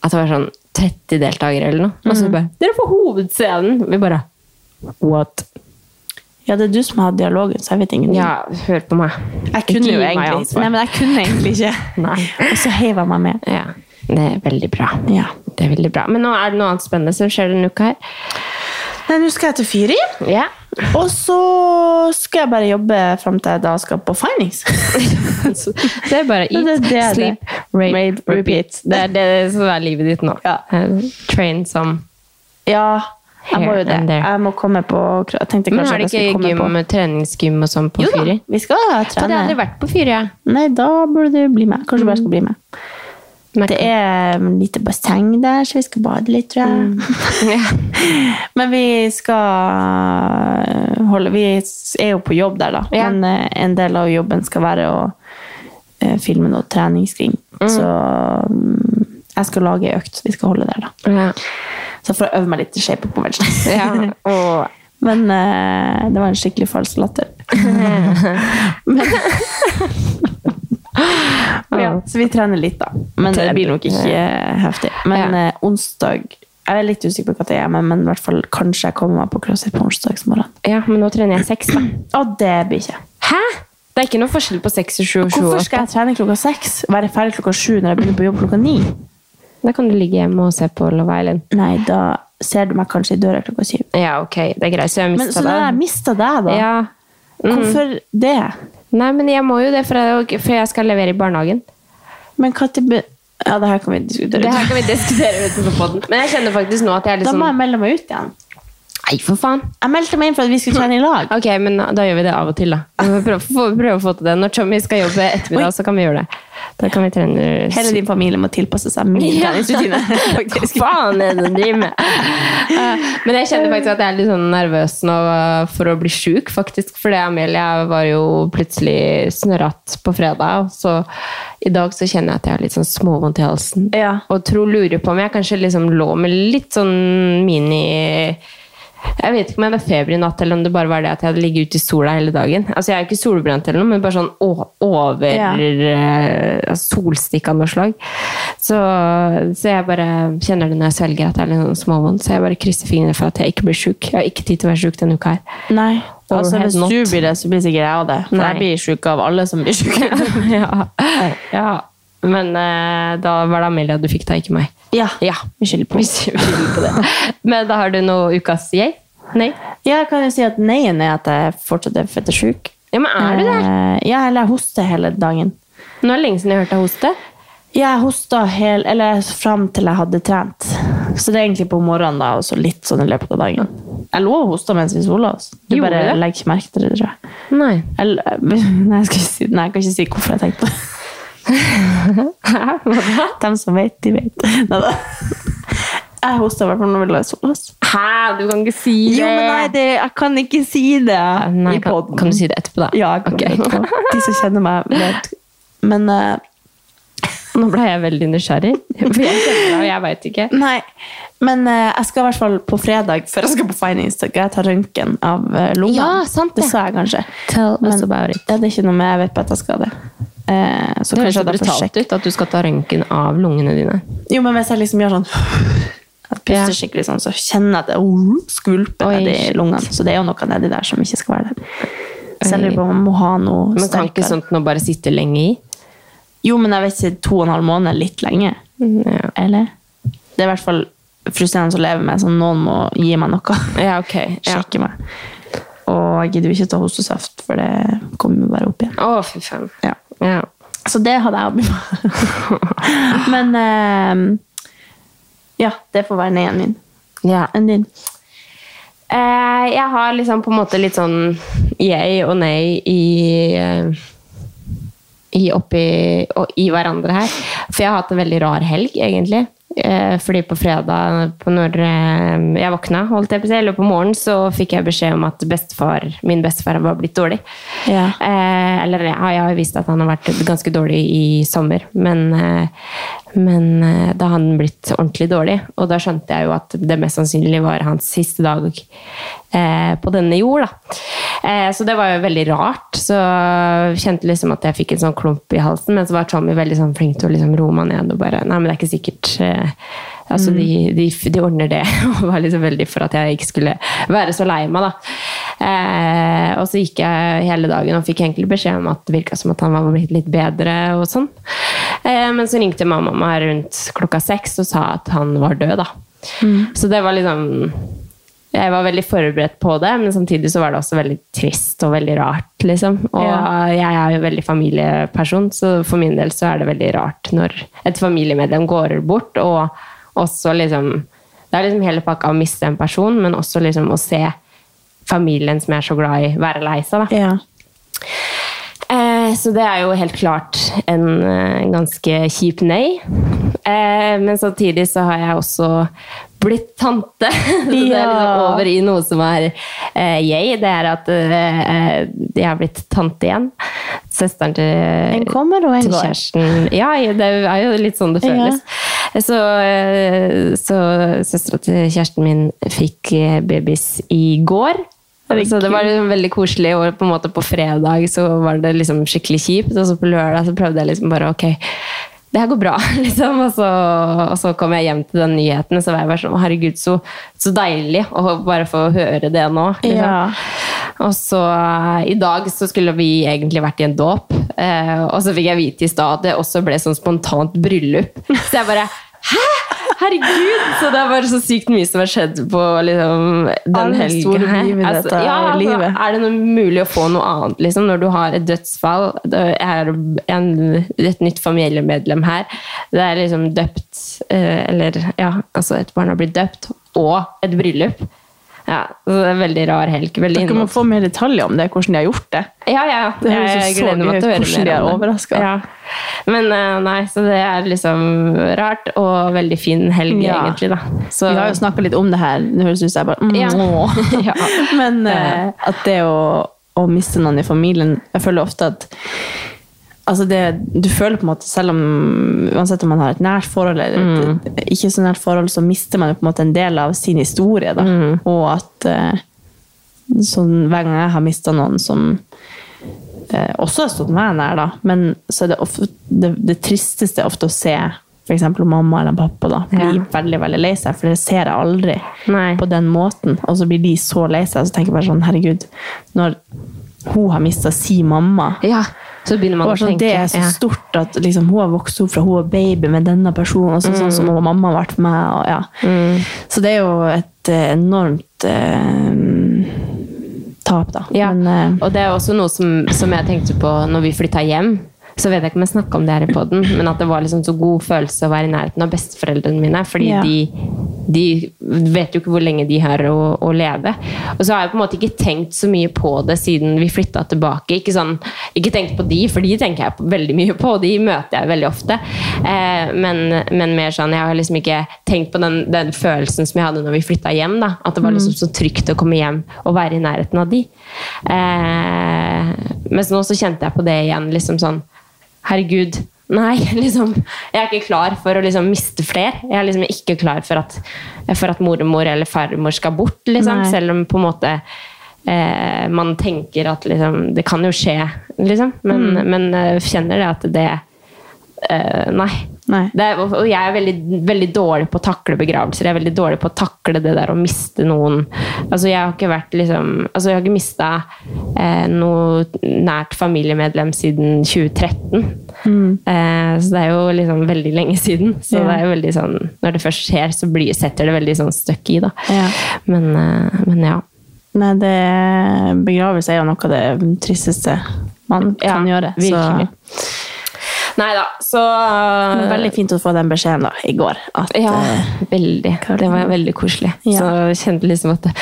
At det var sånn 30 deltakere eller noe. Og
Mhm.
så bare 'Dere får hovedscenen!' Vi bare What?
Ja, det er du som har dialogen, så jeg vet ingenting.
Ja, hør på meg.
Jeg kunne
Gi
jo
meg
egentlig,
ansvar.
nei, men jeg kunne egentlig (laughs) ikke.
Nei.
Og så heiv jeg meg med.
Ja, det er veldig bra.
Ja.
Det er veldig bra. Men nå er det noe annet spennende som skjer denne uka her.
Nei, nå skal jeg til Fyri,
(laughs) Ja.
og så skal jeg bare jobbe frem til jeg da skal på
(laughs)
Findings.
det er bare
Ja,
eat,
(laughs) det- det er det.
sleep, rape,
Rape,
repeat.
repeat.
Det er det som er livet ditt nå.
Ja.
Eh, Train som
Ja, jeg må
Here
jo det.
and there.
Jeg må komme på Jeg tenkte
Men
kanskje at
har de
jeg skulle
ikke
komme
gym,
på
treningsgym og sånn på
Jo da,
Fyri?
vi skal
Jeg hadde
trene.
aldri vært Mm. på Fyri, jeg.
Nei, da burde du bli med. Kanskje du bare skal bli med.
Men
Det er en lite basseng der, så vi skal bade litt, tror jeg.
Mm. Ja.
(laughs) Men vi skal holde Vi er jo på jobb der, da.
Ja.
Men eh, en del av jobben skal være å eh, filme noe treningsring. Så mm, jeg skal lage ei økt vi skal holde der, da.
(laughs) Ja.
Så for å øve meg litt i shape på Wednesday.
ja.
(laughs)
Og
Men eh, det var en skikkelig falsk latter. Men, ja, så vi trener litt, da. Men det blir nok ikke eh, heftig. Men
Ja.
eh, onsdag Jeg er litt usikker på hva det er, men, men i hvert fall kanskje jeg kommer meg på CrossFit på onsdagsmorgen.
ja, men nå trener jeg seks, da.
Og det blir ikke.
Hæ?! Det er ikke noe forskjell på seks og sju og sju og
Hvorfor skal jeg
åtte.
trene klokka seks, være ferdig klokka sju når jeg begynner på jobb klokka ni?
Da kan du ligge hjemme og se på Love Island.
Nei, da ser du meg kanskje i døra klokka syv.
Ja, ok, det er greit. Så jeg
Men, så
mista
da har jeg
det.
mista deg, da.
Ja.
Hvorfor det?
Nei, men jeg må jo det, for jeg, for jeg skal levere i barnehagen.
Men hva til be- Ja, det her kan vi diskutere.
Det her kan vi diskutere utenfor podden. Men jeg kjenner faktisk nå at jeg er litt
Da må
sånn
jeg melde meg ut igjen.
Nei, for faen!
Jeg meldte meg inn for at vi skulle trene i lag.
Ok, men da gjør vi det av og til, da. Vi får prøve, får prøve å få til det. Når Tommy skal jobbe ettermiddag, så kan vi gjøre det. Da kan vi trene
Hele din familie må tilpasse seg min
Ja. (laughs)
treningsrutine.
Hva
faktisk.
faen er det du driver med? Eh, Men jeg kjenner faktisk at jeg er litt sånn nervøs nå eh, for å bli sjuk, faktisk. Fordi Amelia var jo plutselig snørrete på fredag. og Så i dag så kjenner jeg at jeg har litt sånn småvondt i halsen.
Ja.
Og Tro lurer på om jeg kanskje liksom lå med litt sånn mini jeg vet ikke om jeg hadde feber i natt, eller om det bare var det at jeg hadde ligget ute i sola hele dagen. Altså, Jeg er jo ikke solbrent, eller noe, men bare sånn å- over
Ja.
eh, altså, solstikk av noe slag. Så, så jeg bare kjenner det når jeg svelger at det er litt sånn småvondt. Så jeg bare krysser fingrene for at jeg ikke blir sjuk. Jeg har ikke tid til å være sjuk denne uka her. (laughs)
Nei.
Or
Altså,
had
hvis
not.
du blir det, så blir sikkert jeg av det. For
Nei.
jeg blir sjuk av alle som blir sjuke.
ja. ja. Men eh, da var det Amelia du fikk, da, ikke meg.
Ja.
(laughs) Ja.
Vi skylder på.
Vi skylder på det. Men da har du noe ukas yay? Nei?
Ja, jeg kan jo si at neien er at jeg fortsatt er fette sjuk.
Ja, men er du det?
Eh, Ja, eller jeg hoster hele dagen.
Nå er det lenge siden jeg hørte deg hoste.
Jeg hosta hel, eller fram til jeg hadde trent. Så det er egentlig på morgenen da, og så litt sånn i løpet av dagen. Jeg lå og hosta mens vi sola oss. Du
Gjorde
bare
du det?
legger ikke merke til det, tror jeg.
Nei.
Eller, eh, (laughs) nei, jeg skal ikke si, nei, jeg kan ikke si hvorfor jeg tenkte det. De som vet, de vet. Neida. Jeg hosta i hvert fall når vi lå i sola oss.
Hæ, du kan ikke si det!
Jo, men nei, det, jeg kan ikke si det
Nei,
i
kan,
podden.
kan du si det etterpå, da?
Ja, jeg kan
Ok.
det etterpå. De som kjenner meg, vet. Men eh,
(laughs) Nå ble jeg veldig nysgjerrig. For jeg kjenner deg, og jeg veit ikke.
Nei, men eh, jeg skal i hvert fall på fredag før jeg skal på Finings, så skal jeg ta røntgen av eh, lungene.
Ja, sant det.
det. sa jeg kanskje.
Tell us
Men
about it.
ja, det er ikke noe med jeg vet bare at jeg skal det. Eh, så kanskje
Det høres så
jeg da får
brutalt
sjekke.
ut at du skal ta røntgen av lungene dine.
Jo, men hvis jeg liksom gjør sånn at puster
Ja.
skikkelig sånn, så kjenner jeg at det oh, skvulper
Oi,
nedi
shit.
lungene. Så det er jo noe nedi der som ikke skal være der. Så jeg lurer på om jeg må ha noe
Men kan ikke sånn-
sterkere.
sånt nå bare sitte lenge i?
Jo, men jeg vet ikke, to og en halv måned er litt lenge.
Mhm. Ja,
Eller? Det er i hvert fall frustrerende å leve med, så noen må gi meg noe.
ja ok. Ja.
sjekke meg. Og jeg gidder jo ikke ta hostesaft, for det kommer jo bare opp igjen.
Å, fy faen.
Ja.
Ja.
Så det hadde jeg oppi
(laughs)
meg. Men eh, ja, det får være ned min.
ja.
Enn din.
Eh, jeg har liksom på en måte litt sånn yay og nei i, eh, i oppi og i hverandre her. For jeg har hatt en veldig rar helg, egentlig. Eh, fordi på fredag, på når eh, jeg våkna, holdt jeg på å si, eller på morgenen, så fikk jeg beskjed om at bestefar, min bestefar var blitt dårlig.
Ja.
Eh, eller ja, jeg har jo visst at han har vært ganske dårlig i sommer, men, eh, men eh, da har han blitt ordentlig dårlig. Og da skjønte jeg jo at det mest sannsynlig var hans siste dag eh, på denne jord. Da. Eh, så det var jo veldig rart. Så jeg kjente liksom at jeg fikk en sånn klump i halsen, men så var Tommy veldig sånn flink til å liksom roe meg ned og bare Nei, men det er ikke sikkert. eh, Altså, de, de, de ordner det. (laughs) Og var liksom veldig for at jeg ikke skulle være så lei meg, da. Eh, og så gikk jeg hele dagen og fikk egentlig beskjed om at det virka som at han var blitt litt bedre og sånn. Eh, men så ringte mamma meg rundt klokka seks og sa at han var død, da. Så det var liksom jeg var veldig forberedt på det, men samtidig så var det også veldig trist og veldig rart. liksom. Og
Ja.
jeg er jo veldig familieperson, så for min del så er det veldig rart når et familiemedlem går bort, og også liksom Det er liksom hele pakka å miste en person, men også liksom å se familien som jeg er så glad i, være lei seg. da.
Ja.
Eh, så det er jo helt klart en eh, ganske kjip nei. Eh, men samtidig så har jeg også blitt tante. (laughs) så det er liksom
Ja.
over i noe som er eh, yay. Det er at eh, eh, jeg har blitt tante igjen. Søsteren til
En kommer og en
til
går.
kjæresten. Ja, det er jo litt sånn det
Ja.
føles. Så, eh, så søstera til kjæresten min fikk eh, babys i går. Så det var liksom veldig koselig, og på en måte på fredag så var det liksom skikkelig kjipt, og så på lørdag så prøvde jeg liksom bare, ok, det her går bra, (laughs) liksom, og så, og så kom jeg hjem til den nyheten, og så var jeg bare sånn, herregud, så, så deilig å bare få høre det nå. Liksom.
Ja.
Og så eh, i dag så skulle vi egentlig vært i en dåp, eh, og så fikk jeg vite i stad at det også ble sånn spontant bryllup. Så jeg bare Hæ?! Herregud! Så det er bare så sykt mye som har skjedd på liksom, den
Alle store
helgen her.
begivenheter
Altså,
i
ja,
livet.
Er det noe mulig å få noe annet liksom, når du har et dødsfall? Det er en, et nytt familiemedlem her. Det er liksom døpt eh, Eller ja, altså et barn har blitt døpt, og et bryllup. Ja, så det er en veldig rar helg. Veldig
Dere må få mer detaljer om det, hvordan de har gjort det.
ja, ja. ja.
Det høres jo
Jeg
så
gleder meg
gøy ut
til å
hvordan
høre
de
mer
er
om det.
overrasket.
Ja. Men eh, nei, så det er liksom rart, og veldig fin helg
Ja.
egentlig, da. Så,
Vi har jo snakka litt om det her. Det høres ut som jeg bare mm,
Ja.
(laughs) åh.
Ja.
(laughs) Men eh, at det å, å miste noen i familien Jeg føler ofte at altså det, Du føler på en måte, selv om uansett om man har et nært forhold eller et,
Mm.
ikke så nært forhold, så mister man jo på en måte en del av sin historie. Da.
Mm.
Og at eh, sånn, hver gang jeg har mista noen som eh, også har stått meg nær, da. Men så er det, ofte, det, det tristeste er ofte å se f.eks. mamma eller pappa da, bli
Ja.
veldig veldig lei seg, for det ser jeg aldri
Nei.
på den måten. Og så blir de så lei seg, og så tenker jeg bare sånn herregud, når hun har mista si mamma
ja, så begynner man
og
å
sånn,
tenke.
det er så
ja.
stort at liksom, hun har vokst opp fra hun var baby med denne personen, og så, sånn
Mm.
som hun, mamma har vært for meg. Og, ja. Så det er jo et eh, enormt eh, tap, da.
Ja.
Men, eh,
og det er også noe som, som jeg tenkte på når vi flytta hjem. Så vet jeg ikke om jeg snakka om det her i poden, men at det var liksom så god følelse å være i nærheten av besteforeldrene mine. Fordi
Ja.
de, de vet jo ikke hvor lenge de har å, å leve. Og så har jeg på en måte ikke tenkt så mye på det siden vi flytta tilbake. Ikke, sånn, ikke tenkt på de, for de tenker jeg på, veldig mye på, og de møter jeg veldig ofte. Eh, men, men mer sånn, jeg har liksom ikke tenkt på den, den følelsen som jeg hadde når vi flytta hjem. da, At det var liksom så trygt å komme hjem og være i nærheten av de. Eh, mens nå så kjente jeg på det igjen. liksom sånn, Herregud, nei, (laughs) liksom. Jeg er ikke klar for å liksom miste flere. Jeg er liksom ikke klar for at, for at mormor eller farmor skal bort, liksom.
Nei.
Selv om på en måte eh, man tenker at liksom Det kan jo skje, liksom. Men, men eh, kjenner det at det eh, Nei.
Nei.
Det er, og jeg er veldig, veldig dårlig på å takle begravelser. Jeg er veldig dårlig på å takle det der å miste noen. Altså, jeg har ikke vært liksom Altså, jeg har ikke mista eh, noe nært familiemedlem siden 2013.
Mm.
Eh, så det er jo liksom veldig lenge siden. Så
Ja.
det er jo veldig sånn Når det først skjer, så blir, setter det veldig sånn støkk i, da.
Ja.
Men, eh, men ja.
Nei, det, begravelse er jo noe av det tristeste man
Ja,
kan gjøre.
virkelig. Nei da,
Så
så
det var veldig fint å få den beskjeden da, i går. At,
Ja,
eh,
veldig. Det var veldig koselig.
Ja.
Så jeg kjente liksom at det,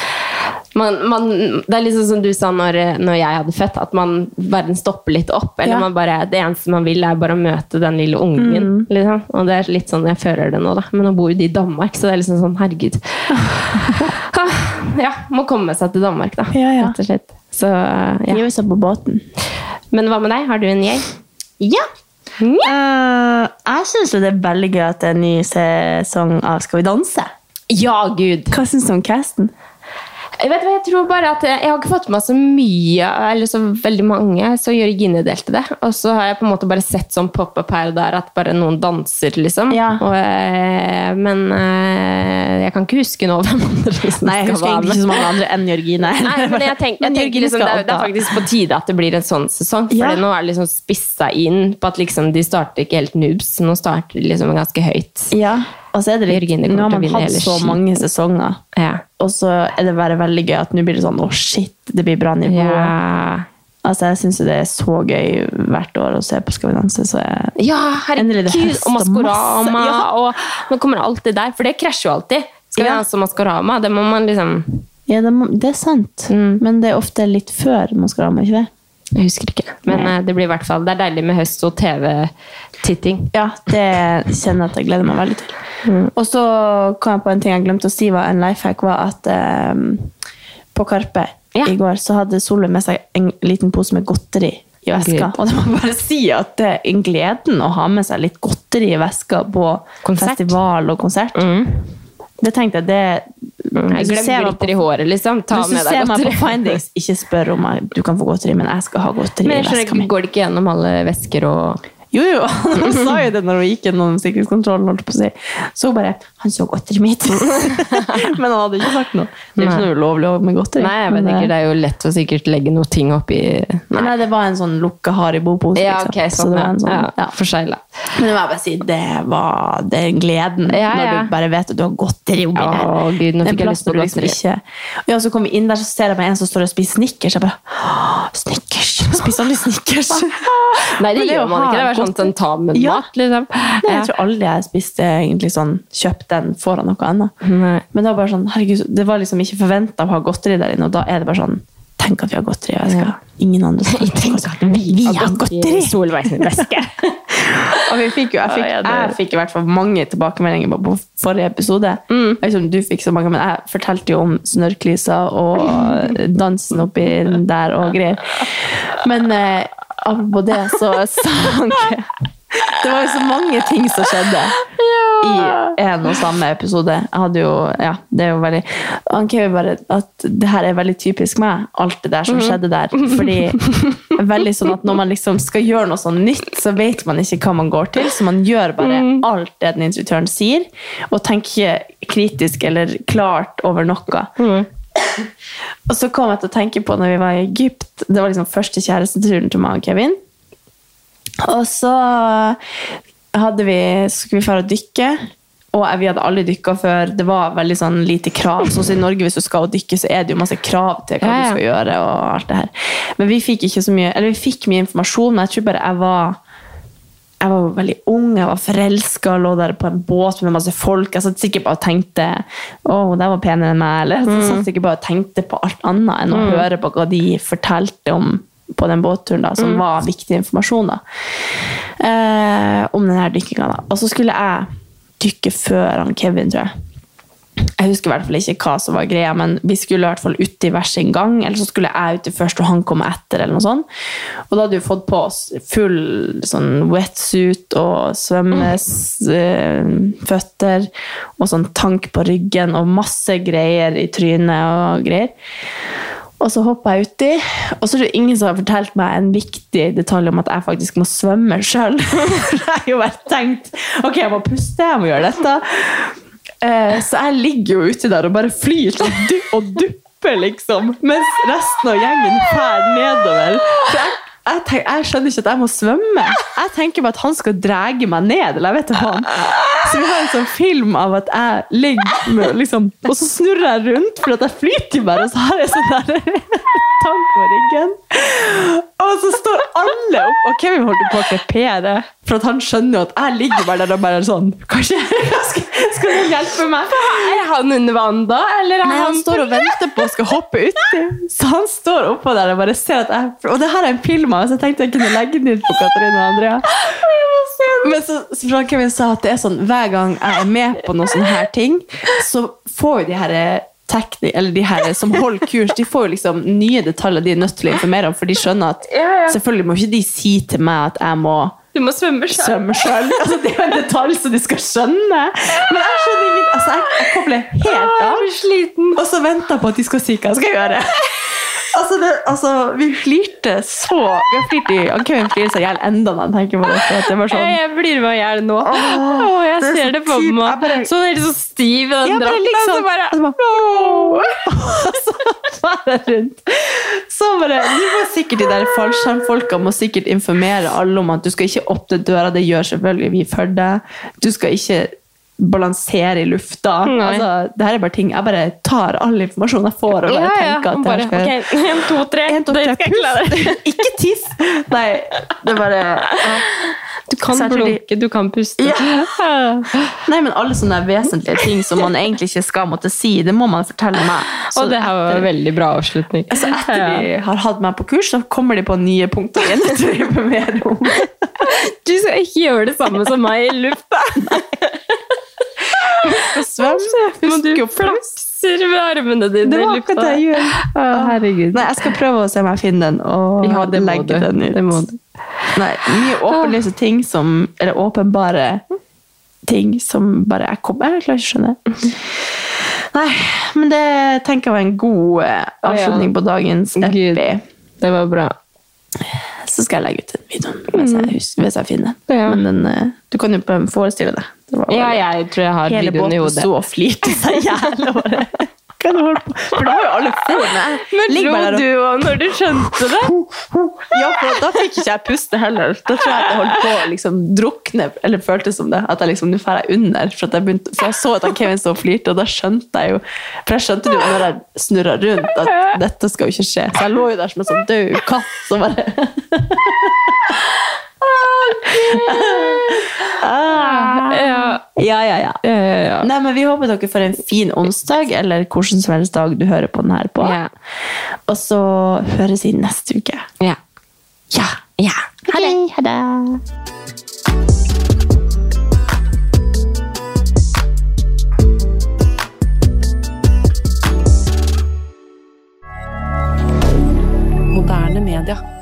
man, man, det er liksom som du sa når, når jeg hadde født, at man verden stopper litt opp. Eller
Ja.
man bare, Det eneste man vil, er bare å møte den lille ungen.
Mm.
Liksom. Og det er litt sånn jeg føler det nå, da. Men nå bor jo de i Danmark, så det er liksom sånn
(laughs)
herregud. Ah, ja, må komme seg til Danmark, da.
Ja, ja.
Rett og slett. Så, ja.
Hive seg på båten.
Men hva med deg? Har du en jeg?
Ja.
Nja.
Eh, jeg syns det er veldig gøy at det er en ny sesong av Skal vi danse.
Ja, gud!
Hva syns du om casten?
Jeg vet hva, jeg tror bare at jeg, jeg har ikke fått med meg så mye, eller så veldig mange, så Jørgine delte det. Og så har jeg på en måte bare sett sånn pop-up her og der, at bare noen danser, liksom.
Ja.
Og, eh, men eh, jeg kan ikke huske nå hvem andre
(laughs)
liksom
Nei, jeg husker egentlig ikke så mange andre enn (laughs) Jørgine.
(laughs) Nei, men jeg tenker, jeg
Men
tenker
Jørgine
liksom, det,
skal
er, det er
opp, da.
faktisk på tide at det blir en sånn sesong. For
Ja.
nå er det liksom spissa inn på at liksom, de starter ikke helt noobs, nå starter de liksom ganske høyt.
Ja, og så er det litt,
Jørgine kommer
nå har
til å
man
vinne
hatt
hele
så
skiten.
mange sesonger,
Ja.
og så er det bare veldig gøy at nå blir det sånn, å shit, det blir bra nivå.
Ja.
Altså, jeg synes jo det er så gøy hvert år å se på Skal vi danse, så jeg...
ja,
Endelig det
herregud!
er hest
Og
og masse.
Maskorama.
Ja.
Og nå kommer alt det der, for det krasjer jo alltid. Skal vi
Ja.
danse Maskorama? Det må man liksom
Ja, det, må- det er sant,
Mm.
men det er ofte litt før man skal ramme, ikke det?
Jeg husker ikke. Men eh, det blir i hvert fall Det er deilig med høst og TV-titting.
Ja, det kjenner jeg at jeg gleder meg veldig til.
Mm.
Og så kom jeg på en ting jeg glemte å si, var en life hack, var at eh, på Karpe
Ja.
i går så hadde Solveig med seg en liten pose med godteri i veska.
Gud.
Og det må bare si at det er en gleden å ha med seg litt godteri i veska på
Konsert. Mm.
festival og konsert. Det tenkte jeg, det
Jeg glemmer glitter i håret, liksom. Ta
Hvis du
med deg
ser meg på
godteri.
Findings, ikke spør om jeg, du kan få godteri, men jeg skal ha godteri
(laughs) Men
i
jeg skjønner
veska
ikke,
mi.
går det ikke gjennom alle vesker og
Jo, jo, (laughs) han sa jo det når hun gikk gjennom sikkerhetskontrollen, holdt jeg på å si. Så bare, han så godteri mitt. (laughs) Men han hadde ikke sagt noe. Det er jo ikke
Nei.
noe ulovlig med godteri.
Nei, jeg vet
Men,
ikke,
eh,
det er jo lett å sikkert legge noen ting oppi
Nei. det var en sånn lukka Haribo-pose.
Ja,
liksom.
ok, sånn,
så det var en sånn,
ja.
ja.
ja. Forsegla.
Men det må jeg bare si, det var den gleden
Ja, ja.
når du bare vet at du har godteri oppi
Å,
der.
Gud, nå
En
fikk jeg
plass
lyst på
hvor du liksom
godteri.
ikke- Ja, så kommer vi inn der, så ser jeg meg en som står og spiser Snickers. Jeg bare, «Åh, Snickers! Spiser aldri Snickers.
(laughs) Nei, det
Men
gjør
å ha
man ikke. Det var
godteri-
sånn tentamen-mat,
Ja.
liksom.
Nei,
Ja.
jeg tror aldri jeg spiste egentlig sånn kjøpt den foran noe annet.
Nei.
Men det var bare sånn, herregud, det var liksom ikke forventa å ha godteri der inne, og da er det bare sånn Tenk at vi har godteri, og jeg skal Ingen andre
(laughs)
skal
Jeg tenker at vi,
Vi har godteri!
Solveig sin veske.
(laughs) Og vi fikk jo, jeg fikk,
(laughs) Ja, ja, det-
jeg fikk i hvert fall mange tilbakemeldinger på- på forrige episode. Jeg
Mm.
vet ikke om du fikk så mange, men jeg fortalte jo om snørklisa og
(laughs)
dansen oppi der og greier. Men eh, apropos det, så sa han ikke Det var jo så mange ting som skjedde i en og samme episode. Jeg hadde jo, ja, det er jo veldig Han krever bare at det her er veldig typisk meg, alt det der som skjedde der. Fordi veldig sånn at når man liksom skal gjøre noe sånn nytt, så vet man ikke hva man går til, så man gjør bare alt det den instruktøren sier, og tenker ikke kritisk eller klart over noe. Og så kom jeg til å tenke på når vi var i Egypt, det var liksom første kjæresteturen til meg og Kevin. Og så hadde vi, så skulle vi fære å dykke, og vi hadde aldri dykka før. Det var veldig sånn lite krav. Sånn som i Norge, hvis du skal dykke, så er det jo masse krav til hva
Ja, ja.
du skal gjøre. og alt det her. Men vi fikk ikke så mye, eller vi fikk mye informasjon, men jeg tror bare jeg var jeg var jo veldig ung, jeg var forelska, lå der på en båt med masse folk. Jeg satt sikkert bare og tenkte å, der var penere enn meg. Eller jeg satt sikkert bare og tenkte på alt annet enn å høre på hva de fortalte om på den båtturen, da, som var viktig informasjon da, eh, om denne dykkinga. da. Og så skulle jeg dykke før han Kevin, tror jeg. Jeg husker i hvert fall ikke hva som var greia, men vi skulle i hvert fall ut i hver sin gang, eller så skulle jeg uti først, og han kom etter, eller noe sånt. Og da hadde vi fått på oss full sånn wetsuit og svømmeføtter, og sånn tank på ryggen, og masse greier i trynet og greier. Og så hoppa jeg uti, og så er det jo ingen som har fortalt meg en viktig detalj om at jeg faktisk må svømme (laughs) sjøl. jeg har jo bare tenkt ok, jeg må puste, jeg må gjøre dette. Eh, så jeg ligger jo uti der og bare flyr til du og dupper, liksom. Mens resten av gjengen fær nedover. For jeg, jeg, tenk, jeg skjønner ikke at jeg må svømme. Jeg tenker bare at han skal drage meg ned. eller jeg vet ikke han. Så vi har en sånn film av at jeg ligger med, liksom, og så snurrer jeg rundt fordi at jeg flyter jo bare, og så har jeg sånn der (laughs) tank på ryggen. Og så står alle opp, og Kevin holdt på å krepere, for at han skjønner jo at jeg ligger bare der og bare sånn, kanskje skal, skal noen hjelpe meg?
Er han under vann da, eller er
Nei, han står og venter på og skal hoppe uti. Så han står oppå der og bare ser at jeg Og det her er en film av, så jeg tenkte jeg kunne legge den ut på Katarina og Andrea. Men så, så Frank Kevin sa at det er sånn hver gang jeg er med på noen sånne her ting, så får jo de her eh, tekni, eller de her som holder kurs, de får jo liksom nye detaljer de er nødt til å informere om, for de skjønner at
Ja, ja.
selvfølgelig må ikke de si til meg at jeg må
Du må svømme sjøl.
Svømmer selv. Altså, det er jo en detalj som de skal skjønne. Men jeg skjønner ingen altså, jeg, jeg kobler helt av.
blir sliten.
Og så venter jeg på at de skal si hva jeg skal
(laughs)
gjøre. Altså, det, altså vi flirte så Vi har flirt i Ok, vi flirer seg i hjel enda når jeg tenker på det. for at det var sånn
Jeg blir med i hjel nå.
Åh,
Åh, jeg
det er
ser
så
det på
typ- jeg
meg.
bare-
Så er det så stiv i
Ja,
den
bare
drakten.
liksom-
så bare- Altså,
Og så bare (laughs) Så var jeg rundt. Så bare Du må sikkert de der fallskjermfolka må sikkert informere alle om at du skal ikke åpne døra, det gjør selvfølgelig vi for deg. Du skal ikke balansere i lufta.
Nei.
Altså, det her er bare ting Jeg bare tar all informasjon jeg får, og bare
Ja, ja.
tenker at
Og
det her
bare,
skal jeg-
ok, en, to, tre.
En, to,
Det
tre,
skal jeg klare.
puff! (laughs) Ikke tiss! Nei, det er bare ja.
Du kan
Særlig-
blunke, du kan puste.
Nei, men alle sånne vesentlige ting som man egentlig ikke skal måtte si, det må man fortelle meg. Så
Og det her var en veldig bra avslutning.
Altså, etter de har hatt meg på kurs, så kommer de på nye punkter
(laughs)
igjen. Det tror jeg på mer om.
Du skal ikke gjøre det samme som meg i lufta.
Svøm,
Men du
husk å puste.
flakser med armene dine
Det var
i
akkurat
lufta.
det jeg gjorde.
Å, herregud.
Nei, jeg skal prøve å se om jeg finner den, og
Ja, det må du.
legge den ut.
Det må du.
Nei, mye åpenlyse ting som Eller åpenbare ting som bare Jeg, kom, jeg klarer ikke å skjønne. Nei, men det tenker jeg var en god eh, avslutning på dagens
Gud.
epi.
Det var bra.
Så skal jeg legge ut den videoen hvis jeg, husker, hvis jeg finner den.
Mm. Ja.
Men den, eh, du kan jo prøve å forestille deg. Det var
Ja,
bare-
jeg tror jeg har
Hele
videoen i
båten
hodet.
sto og flirte seg i hjel. og
(laughs)
bare, Hva er det du holder på med? For da har jo alle funnet.
Men
Ligg bare
lo
der og
du òg når du skjønte det?
ja, for Da fikk ikke jeg puste heller. Da tror jeg at jeg holdt på å liksom drukne. Eller føltes som det. At jeg liksom, nå drar jeg under. For, at jeg begynte, for jeg så at han Kevin sto og flirte, og da skjønte jeg jo For jeg skjønte jo når jeg snurra rundt, at dette skal jo ikke skje. Så jeg lå jo der som en sånn død katt. Så bare ah,
Ja,
Ja, ja, ja.
ja, ja, ja.
Nei, men Vi håper dere får en fin onsdag, eller hvordan som helst dag du hører på den her på.
Ja.
Og så høres vi neste uke.
ja.
Ja!
ja.
Ha det! Ha det.
Moderne media.